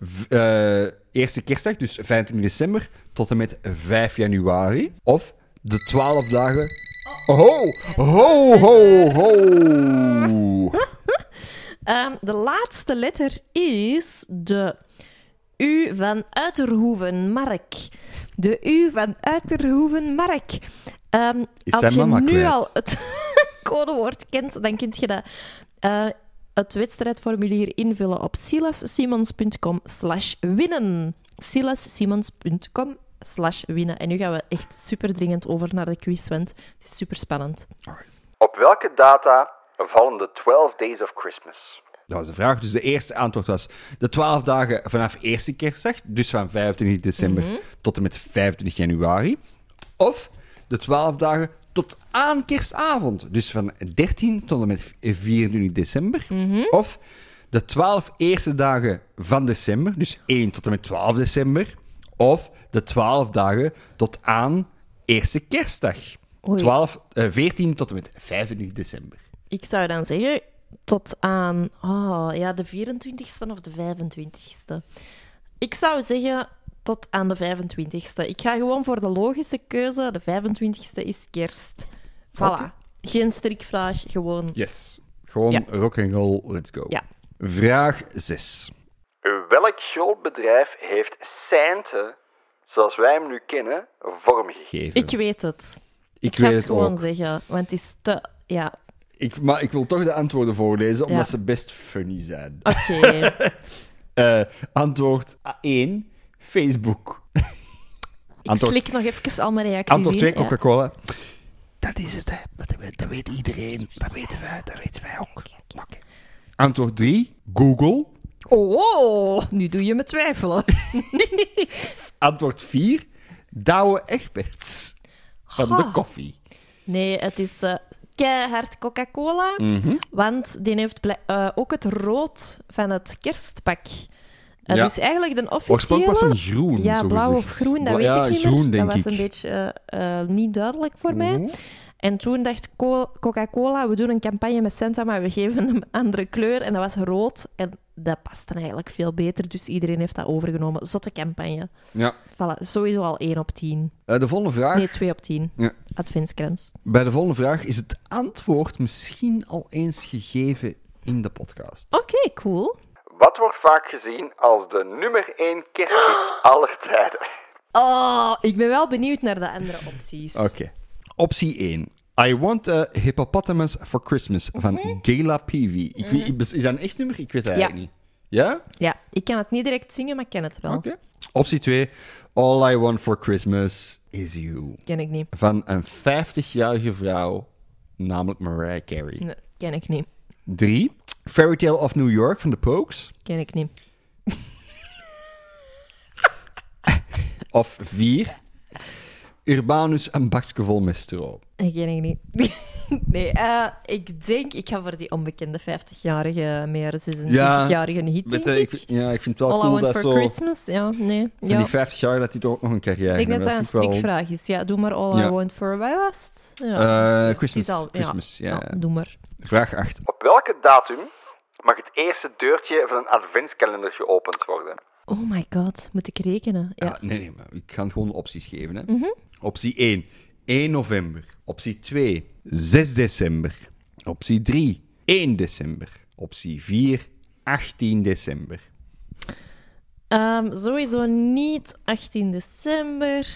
S2: V- eh, eerste kerstdag, dus 25 december, tot en met 5 januari. Of de 12 dagen. Ho, ho, ho, ho.
S1: Ehm, de laatste letter is de U van Uiterhoeven-Mark. De U van Uiterhoeven-Mark. Ehm,
S2: Is
S1: als
S2: zijn
S1: je
S2: mama
S1: nu
S2: kwijt?
S1: al het [LAUGHS] codewoord kent, dan kun je dat, eh, het wedstrijdformulier invullen op silassimons.com slash winnen. silassimons.com slash winnen. En nu gaan we echt super dringend over naar de quiz, want het is super spannend.
S2: Alright.
S3: Op welke data vallen de 12 Days of Christmas?
S2: Dat was de vraag. Dus de eerste antwoord was de 12 dagen vanaf eerste kerstdag, dus van 25 december tot en met 25 januari. Of de 12 dagen tot aan kerstavond, dus van 13 tot en met 24 december. Of de 12 eerste dagen van december, dus 1 tot en met 12 december. Of de 12 dagen tot aan eerste kerstdag.
S1: Oei.
S2: 12, eh, 14 tot en met 25 december.
S1: Ik zou dan zeggen tot aan oh, ja, de 24ste of de 25ste. Ik zou zeggen tot aan de 25ste. Ik ga gewoon voor de logische keuze. De 25ste is kerst. Voilà.
S2: Oké.
S1: Geen strikvraag, gewoon.
S2: Yes. Gewoon
S1: Ja.
S2: rock and roll, let's go.
S1: Ja.
S2: Vraag 6.
S3: Welk groot bedrijf heeft Santa, zoals wij hem nu kennen, vormgegeven?
S2: Geven.
S1: Ik weet het.
S2: Ik
S1: ga
S2: weet
S1: het
S2: het
S1: gewoon
S2: ook.
S1: zeggen, want het is te... Ja,
S2: Ik, maar ik wil toch de antwoorden voorlezen, omdat
S1: Ja.
S2: ze best funny zijn.
S1: oké.
S2: [LAUGHS] Eh, antwoord 1, Facebook.
S1: Ik
S2: Antwoord-
S1: slik nog even al mijn reacties
S2: Antwoord
S1: in.
S2: 2,
S1: Ja.
S2: Coca-Cola. Dat is het, hè. Dat, weet- dat weet iedereen. Dat weten wij, dat weten wij ook. Oké. Antwoord 3, Google. [LAUGHS]
S1: Oh, nu doe je me twijfelen.
S2: Antwoord 4, Douwe Egberts van de
S1: Goh.
S2: koffie.
S1: Nee, het is eh, keihard Coca-Cola.
S2: Mhm.
S1: Want die heeft blijk- eh, ook het rood van het kerstpak. Eh,
S2: Ja.
S1: Dus eigenlijk de officiële...
S2: Oorspronkelijk was hem groen.
S1: Ja,
S2: zo
S1: blauw of
S2: gezegd.
S1: groen, dat
S2: Bla-
S1: weet
S2: ja,
S1: ik niet
S2: groen,
S1: meer.
S2: Denk
S1: Dat was
S2: ik.
S1: een beetje eh, eh, niet duidelijk voor mij.
S2: Mhm.
S1: En toen dacht Co- Coca-Cola, we doen een campagne met Santa, maar we geven hem een andere kleur. En dat was rood. En dat paste eigenlijk veel beter. Dus iedereen heeft dat overgenomen. Zotte campagne.
S2: Ja.
S1: Voilà, sowieso al 1 op 10.
S2: Eh, de volgende vraag.
S1: Nee, 2 op 10.
S2: Ja.
S1: Adventskrans.
S2: Bij de volgende vraag is het antwoord misschien al eens gegeven in de podcast.
S1: Oké, cool.
S3: Wat wordt vaak gezien als de nummer 1
S1: [GASPS]
S3: kerstfeest aller tijden?
S1: Oh, ik ben wel benieuwd naar de andere opties.
S2: Oké. Optie 1. I want a hippopotamus for Christmas van Gela Peavy. Ik, weet- ik bes- is dat een echt nummer? Ik weet het
S1: Mhm. Ja.
S2: eigenlijk niet. Ja?
S1: Ja, ik kan het niet direct zingen, maar ik ken het wel.
S2: Oké. Optie 2. All I want for Christmas is you.
S1: Ken ik niet.
S2: Van een 50-jarige vrouw, namelijk Mariah Carey.
S1: Nee, ken ik niet.
S2: 3. Fairy Tale of New York van The Pokes.
S1: Ken ik niet.
S2: Of 4. Urbanus, een bakje vol met stroop.
S1: Ik ken ik niet. [LAUGHS] Nee, eh, ik denk, ik ga voor die onbekende 50-jarige, meer 26-jarige hit,
S2: Weet
S1: denk
S2: je,
S1: ik.
S2: ik, ja, ik vind het wel
S1: All I
S2: cool
S1: Want
S2: dat
S1: for
S2: zo...
S1: Christmas, ja, nee.
S2: Van
S1: Ja.
S2: die 50 jaar dat hij toch ook nog een carrière
S1: Ik denk dat
S2: heeft.
S1: dat een
S2: vind ik wel-
S1: strikvraag is. Ja, doe maar All
S2: Ja.
S1: I Want for Why was het? Ja.
S2: Eh,
S1: Het
S2: Christmas,
S1: is al- ja.
S2: Christmas, ja.
S1: doe maar.
S2: Vraag 8.
S3: Op welke datum mag het eerste deurtje van een adventskalender geopend worden?
S1: Oh my god, moet ik rekenen? Ja. Mhm.
S2: Ah, nee, nee, maar ik ga gewoon opties geven. Hè. Optie 1, 1 november. Optie 2, 6 december. Optie 3, 1 december. Optie 4, 18 december.
S1: Ehm, sowieso niet 18 december,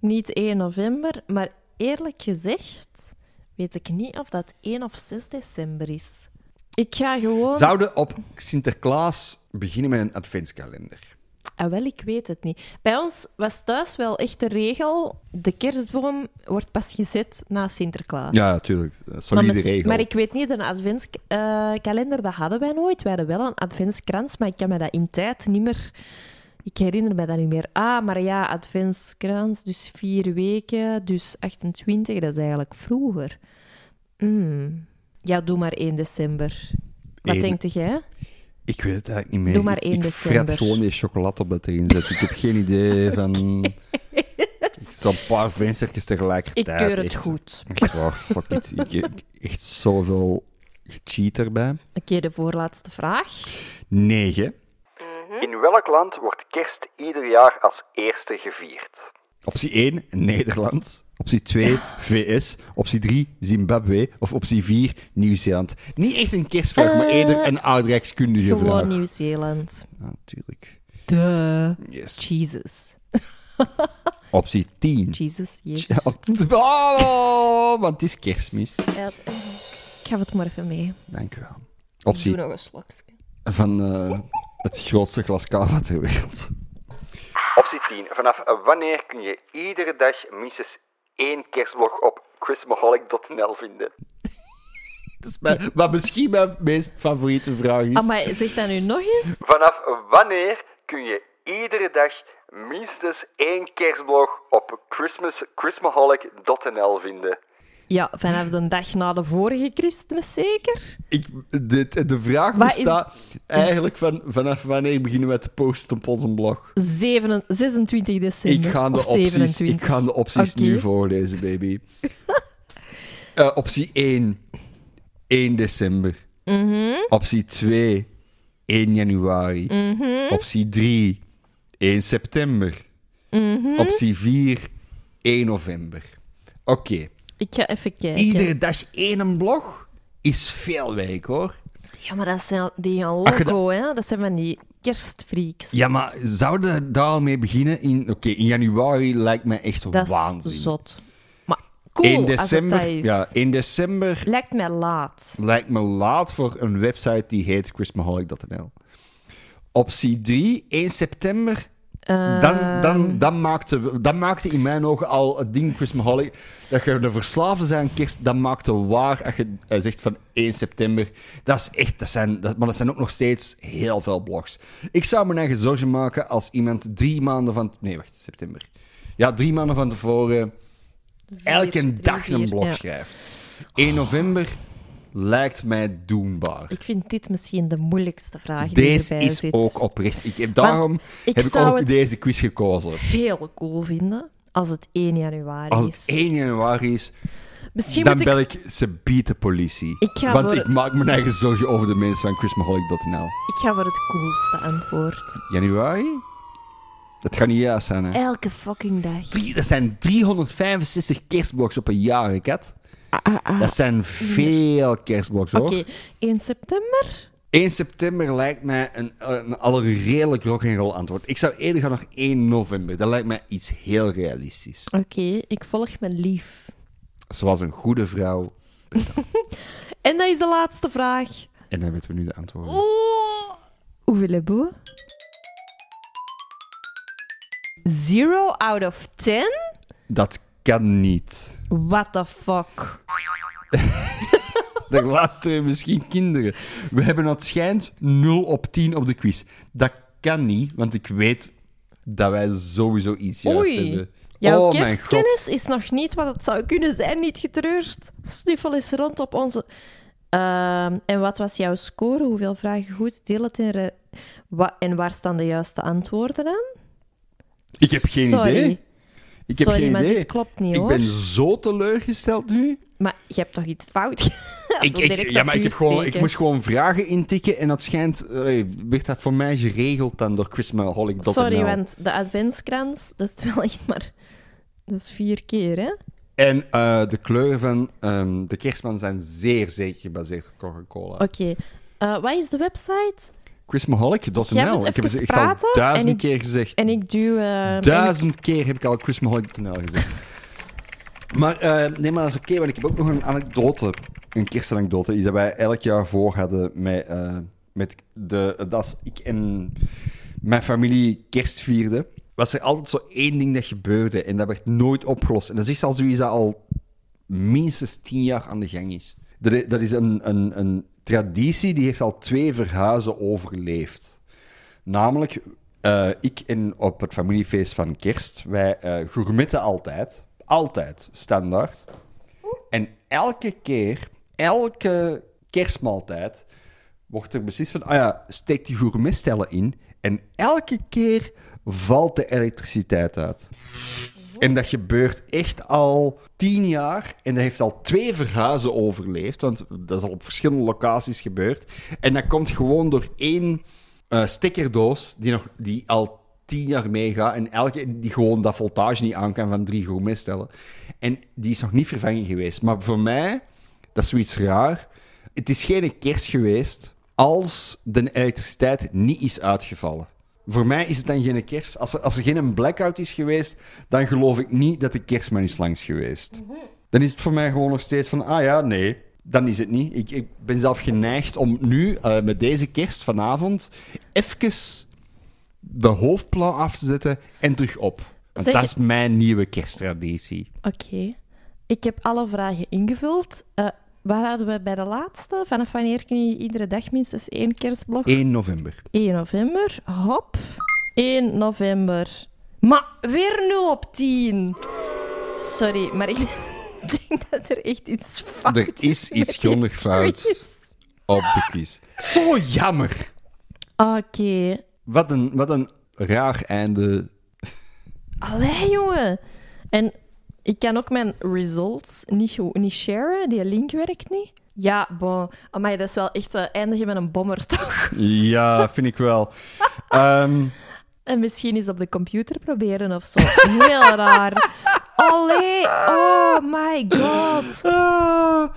S1: niet 1 november, maar eerlijk gezegd weet ik niet of dat 1 of 6 december is. Ik ga gewoon...
S2: Zouden op Sinterklaas beginnen met een adventskalender?
S1: Ah, wel, ik weet het niet. Bij ons was thuis wel echt de regel: de kerstboom wordt pas gezet na Sinterklaas.
S2: Ja, natuurlijk.
S1: maar,
S2: Solide
S1: mis-
S2: regel.
S1: maar ik weet niet, een adventskalender, dat hadden wij nooit. Wij hadden wel een adventskrans, maar ik kan me dat in tijd niet meer... Ik herinner me dat niet meer. Ah, maar ja, adventskrans, dus vier weken, dus 28, dat is eigenlijk vroeger. Hmm. Ja, doe maar 1 december. Wat
S2: Eén.
S1: denkt jij?
S2: Ik weet het eigenlijk niet meer.
S1: Doe maar
S2: Ik-
S1: 1
S2: Ik
S1: december.
S2: fret gewoon die chocolade op dat erin zit. Ik heb geen idee van...
S1: [LAUGHS]
S2: Het is al een paar venstertjes
S1: Ik
S2: tegelijkertijd.
S1: keur het
S2: echt.
S1: goed.
S2: Echt waar, fuck it. Ik, ik- echt zoveel gecheat erbij.
S1: Oké, de voorlaatste vraag.
S2: 9.
S3: In welk land wordt kerst ieder jaar als eerste gevierd?
S2: Optie 1, Nederland. Optie 2,
S3: [LAUGHS]
S2: VS. Optie 3, Zimbabwe. Of optie 4, Nieuw-Zeeland. Niet echt een kerstvraag,
S3: Eh,
S2: maar eerder een oudrijkskundige vraag.
S1: Gewoon Nieuw-Zeeland.
S2: Natuurlijk.
S1: De
S2: Yes.
S1: Jesus.
S2: Optie 10.
S1: Jesus,
S2: Ja,
S1: Jezus.
S2: op- [LAUGHS] Oh, [LAUGHS] want het is kerstmis.
S1: Ja, het- Ik ga het maar even mee.
S2: Dank u wel.
S1: Ik doe
S2: Optie
S1: nog een slokje.
S2: van eh, het grootste glas kava ter wereld.
S3: Optie 10. Vanaf wanneer kun je iedere dag minstens één kerstblok op chrismaholic.nl vinden?
S2: [LAUGHS] Dat is mijn, wat misschien mijn meest favoriete vraag is.
S1: Ah, maar zeg dat nu nog eens.
S3: Vanaf wanneer kun je iedere dag minstens één kerstblok op Christmas, chrismaholic.nl vinden?
S1: Ja, vanaf de dag na de vorige Christmas zeker.
S2: Ik, de, de vraag
S1: Wat is-
S2: bestaat eigenlijk van vanaf wanneer beginnen we te posten op onze blog?
S1: Zeven- 26
S2: Ik
S1: december.
S2: ga de
S1: of
S2: opties,
S1: 27.
S2: ik ga de opties
S1: Oké.
S2: nu voorlezen, baby. [LAUGHS] Eh, optie 1, 1 december.
S1: Mhm.
S2: Optie 2, 1 januari.
S1: Mhm.
S2: Optie 3, 1 september.
S1: Mhm.
S2: Optie 4, 1 november. Oké,
S1: Ik ga even kijken.
S2: iedere dag één blog is veel werk hoor.
S1: Ja, maar dat zijn die gaan
S2: Ach, je
S1: loco, hè. Dat zijn van die kerstfreaks.
S2: Ja, maar zouden we daar al mee beginnen? In, Oké, in januari lijkt mij echt
S1: dat is
S2: waanzin.
S1: zot. Maar cool,
S2: in
S1: als
S2: december,
S1: het dat is.
S2: ja, in december
S1: Lijkt mij laat.
S2: lijkt me laat voor een website die heet chrismaholic.nl. Optie 3, 1 september. Dan,
S1: Ehm.
S2: dan, dan, maakte, dan maakte in mijn ogen al het ding Christmaholic... Dat je de verslaafde zijn aan kerst, dan maakte waar als je eh, zegt van 1 september. Dat is echt... Dat zijn, dat, maar dat zijn ook nog steeds heel veel blogs. Ik zou mijn eigen zorgen maken als iemand drie maanden van... Nee, wacht, september. Ja, drie maanden van tevoren elke
S1: drie,
S2: dag
S1: vier,
S2: een blog
S1: ja.
S2: schrijft. 1 november lijkt mij doenbaar.
S1: Ik vind dit misschien de moeilijkste vraag die
S2: Deze
S1: erbij
S2: is
S1: zit.
S2: ook oprecht. Ik heb, daarom
S1: ik
S2: heb ik
S1: zou
S2: ook
S1: het-
S2: deze quiz gekozen.
S1: Heel cool vinden als het 1 januari
S2: Als
S1: is.
S2: het 1 januari is,
S1: Misschien
S2: dan
S1: moet ik
S2: bel ik ze biedt de politie.
S1: Ik ga
S2: Want
S1: voor
S2: ik
S1: het-
S2: maak mijn eigen zorgen over de mensen van chrismaholic.nl.
S1: Ik ga voor het coolste antwoord.
S2: Januari? Dat gaat niet juist zijn, hè?
S1: Elke fucking dag.
S2: Drie- dat zijn 365 kerstblogs op een jaar, hè, Kat.
S1: Ah,
S2: Dat zijn veel kerstblogs, hoor.
S1: Mm. Oké, 1 september?
S2: 1 september lijkt mij een, een al een redelijk rock'n'roll antwoord. Ik zou eerder gaan naar 1 november. Dat lijkt mij iets heel realistisch.
S1: Oké, ik volg mijn lief.
S2: Zoals een goede vrouw.
S1: En dat is de laatste vraag.
S2: En dan weten we nu de antwoorden.
S1: Hoeveel hebben we? Zero out of ten?
S2: Dat kan niet. [LAUGHS]
S1: What the fuck?
S2: Er luisteren misschien kinderen. We hebben het schijnt 0 op 10 op de quiz. Dat kan niet, want ik weet dat wij sowieso iets juist hebben.
S1: Jouw
S2: oh mijn god.
S1: kerstkennis is nog niet wat het zou kunnen zijn, niet getreurd. Snuffel eens rond op onze... Ehm, en wat was jouw score? Hoeveel vragen goed? Deel het in... re- Wa- en waar staan de juiste antwoorden aan?
S2: Ik heb geen
S1: Sorry.
S2: idee. Ik heb
S1: Sorry,
S2: geen
S1: maar
S2: idee.
S1: dit klopt niet,
S2: ik
S1: hoor.
S2: ben zo teleurgesteld nu.
S1: Maar je hebt toch iets fout [LAUGHS] gedaan?
S2: Ik,
S1: Zo
S2: ik-
S1: direct
S2: ja,
S1: op
S2: maar ik,
S1: je
S2: heb gewoon, ik
S1: steken.
S2: moest gewoon vragen intikken en dat schijnt, eh, werd dat voor mij geregeld dan door chrismaholic.nl.
S1: Sorry, want de adventskrans, dat is wel echt maar... Dat is vier keer, hè?
S2: En eh, de kleuren van ehm, de kerstman zijn zeer zeker gebaseerd op Coca-Cola.
S1: Oké. Eh, wat is de website? Jij moet
S2: Chrismaholic.nl. Ik heb
S1: even
S2: het echt al
S1: praten
S2: duizend
S1: en ik-
S2: keer gezegd.
S1: En ik duw... eh, en
S2: Duizend keer heb ik al Chrismaholic.nl gezegd. maar eh, nee, maar dat is oké, want ik heb ook nog een anekdote. Een kerstanekdote. Iets dat wij elk jaar voor hadden met, eh, met de, dat als ik en mijn familie kerst vierde. Was er altijd zo één ding dat gebeurde en dat werd nooit opgelost. En dat is echt al zoiets dat al minstens tien jaar aan de gang is. Dat i- Dat is een, een, een traditie die heeft al twee verhuizen overleefd. Namelijk, eh, ik en op het familiefeest van Kerst, wij eh gourmetten altijd. Altijd, standaard. En elke keer, elke kerstmaaltijd, wordt er beslist van, ah ja, steek die gourmetstellen in. En elke keer valt de elektriciteit uit. En dat gebeurt echt al tien jaar. En dat heeft al twee verhuizen overleefd. Want dat is al op verschillende locaties gebeurd. En dat komt gewoon door één eh, stekkerdoos die, nog, die al tien jaar meegaat. En elke die gewoon dat voltage niet aan kan van drie gourmetstellen. En die is nog niet vervangen geweest. Maar voor mij, dat is zoiets raar. Het is geen kerst geweest als de elektriciteit niet is uitgevallen. Voor mij is het dan geen kerst. Als er, als er geen blackout is geweest, dan geloof ik niet dat de kerstman is langs geweest.
S1: Mhm.
S2: Dan is het voor mij gewoon nog steeds van, ah ja, nee, dan is het niet. Ik, ik ben zelf geneigd om nu, eh, met deze kerst vanavond, even de hoofdplan af te zetten en terug op. Want
S1: Zeg-
S2: dat is mijn nieuwe kersttraditie.
S1: Oké. Ik heb alle vragen ingevuld. Eh, waar hadden we bij de laatste? Vanaf wanneer kun je iedere dag minstens één kerstblog?
S2: 1 november.
S1: 1 november. Hop. 1 november. Maar weer 0 op 10. Sorry, maar ik [LAUGHS] denk dat er echt iets fout
S2: Er is
S1: met die
S2: iets grondig fout
S1: quiz.
S2: op de quiz. Zo jammer.
S1: [LAUGHS] Oké.
S2: Wat een, wat een raar einde.
S1: Allee, jongen. En ik kan ook mijn results niet, go- niet sharen. Die link werkt niet. Ja, bon. Amai, dat is wel echt eh, eindigen met een bommer, [LAUGHS] toch?
S2: Ja, vind ik [LAUGHS] wel. Ehm,
S1: En misschien eens op de computer proberen of zo. Heel raar. Allee, oh my god.
S2: ah,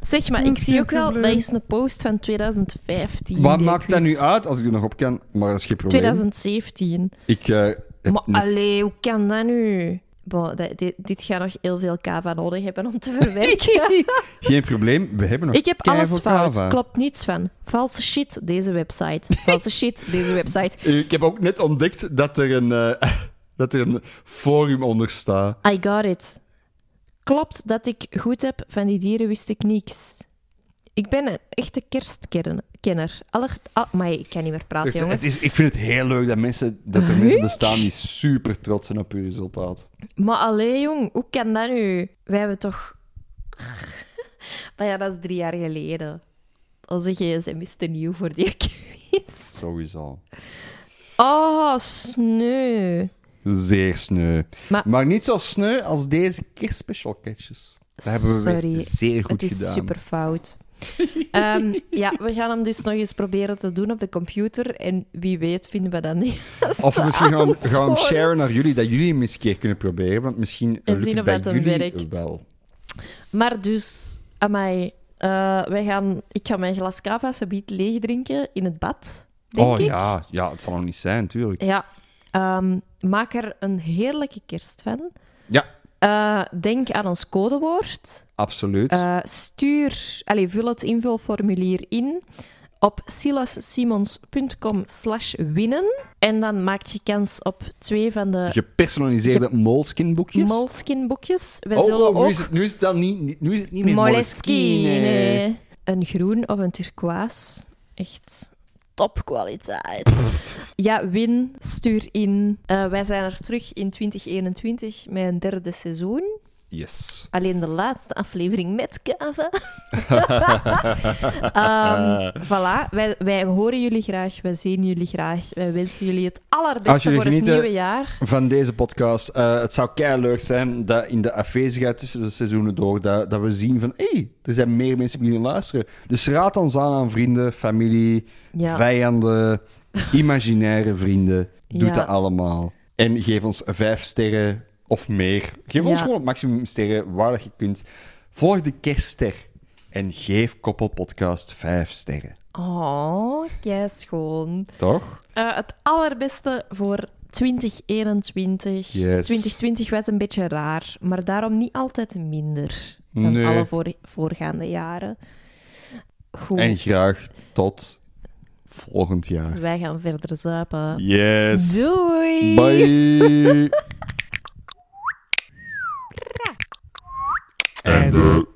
S1: Zeg maar,
S2: Dat
S1: ik
S2: is
S1: zie
S2: geen
S1: ook wel, dat
S2: probleem.
S1: is een post van 2015.
S2: wat
S1: die
S2: maakt dat
S1: quiz.
S2: nu uit als ik er nog op kan? Maar dat is geen probleem.
S1: 2017.
S2: Ik eh, heb
S1: Maar
S2: net-
S1: allee, hoe kan dat nu? Bon, dat- dit, dit gaat nog heel veel kava nodig hebben om te verwerken.
S2: [LAUGHS] geen probleem. We hebben nog
S1: Ik heb alles
S2: keiveel
S1: fout.
S2: kava.
S1: Klopt niets van. Valse shit, deze website. Valse [LAUGHS] shit, deze website.
S2: Ik heb ook net ontdekt dat er een, eh, [LAUGHS] dat er een forum onder staat.
S1: I got it. Klopt dat ik goed heb, van die dieren wist ik niks. Ik ben een echte kerstkenner. Aller... Ah, maar ik kan niet meer praten,
S2: Dus
S1: jongens.
S2: het is, ik vind het heel leuk dat, mensen, dat er mensen bestaan die super trots zijn op hun resultaat.
S1: Maar alleen jong, hoe kan dat nu? Wij hebben toch... [LAUGHS] maar ja, dat is drie jaar geleden. Onze gsm is te nieuw voor die [LAUGHS] quiz.
S2: Sowieso.
S1: Oh, sneu.
S2: Zeer sneu. Maar,
S1: Maar-
S2: niet zo sneu als deze kerstspecial catches. Dat hebben we
S1: Sorry,
S2: weer zeer goed
S1: het is
S2: gedaan.
S1: super
S2: [LAUGHS]
S1: fout. Ehm, ja, we gaan hem dus nog eens proberen te doen op de computer. En wie weet vinden we dat niet. [LAUGHS]
S2: Of we misschien gaan, gaan hem
S1: Antwoorden.
S2: sharen naar jullie, dat jullie hem eens een keer kunnen proberen. Want misschien
S1: En
S2: lukt
S1: zien
S2: het
S1: of
S2: bij
S1: dat hem
S2: jullie
S1: werkt.
S2: wel.
S1: Maar dus, amai. eh wij gaan, ik ga mijn glas cava sabiet leeg drinken in het bad, denk
S2: oh
S1: ik.
S2: ja, ja, het zal nog niet zijn, tuurlijk.
S1: Ja. Ehm, maak er een heerlijke kerst van.
S2: Ja,
S1: Eh, denk aan ons codewoord.
S2: absoluut.
S1: Eh, stuur, allez, vul het invulformulier in op silassimons.com slash winnen. En dan maak je kans op twee van de
S2: Gepersonaliseerde moleskin boekjes.
S1: Moleskin boekjes. We
S2: oh,
S1: zullen
S2: oh, nu,
S1: ook
S2: is het, nu is het dan niet, niet- nu is het niet meer moleskin.
S1: Moleskine.
S2: nee.
S1: Een groen of een turquoise. Echt topkwaliteit. ja, win, stuur in. Eh, wij zijn er terug in 2021 met een derde seizoen.
S2: Yes.
S1: Alleen de laatste aflevering met
S2: [LAUGHS]
S1: Kava. Ehm voilà, wij, wij horen jullie graag, wij zien jullie graag. Wij wensen jullie het
S2: Als
S1: allerbeste
S2: jullie
S1: voor
S2: genieten-
S1: het nieuwe jaar.
S2: van deze podcast. Eh, het zou leuk zijn dat in de afwezigheid tussen de seizoenen door, dat, dat we zien van hé, hey, er zijn meer mensen die beginnen luisteren. Dus raad ons aan aan vrienden, familie,
S1: Ja.
S2: vijanden, imaginaire vrienden. Doe
S1: Ja.
S2: dat allemaal. En geef ons vijf sterren of meer. Geef ons
S1: Ja.
S2: gewoon het maximum sterren waar dat je kunt. Volg de kerstster en geef Koppelpodcast vijf sterren.
S1: Oh, kei schoon.
S2: Toch?
S1: Eh, het allerbeste voor 2021.
S2: Yes.
S1: 2020 was een beetje raar, maar daarom niet altijd minder dan
S2: Nee.
S1: alle voor- voorgaande jaren. Goed,
S2: En graag tot volgend jaar.
S1: wij gaan verder zuipen.
S2: Yes.
S1: Doei!
S2: Bye. and uh,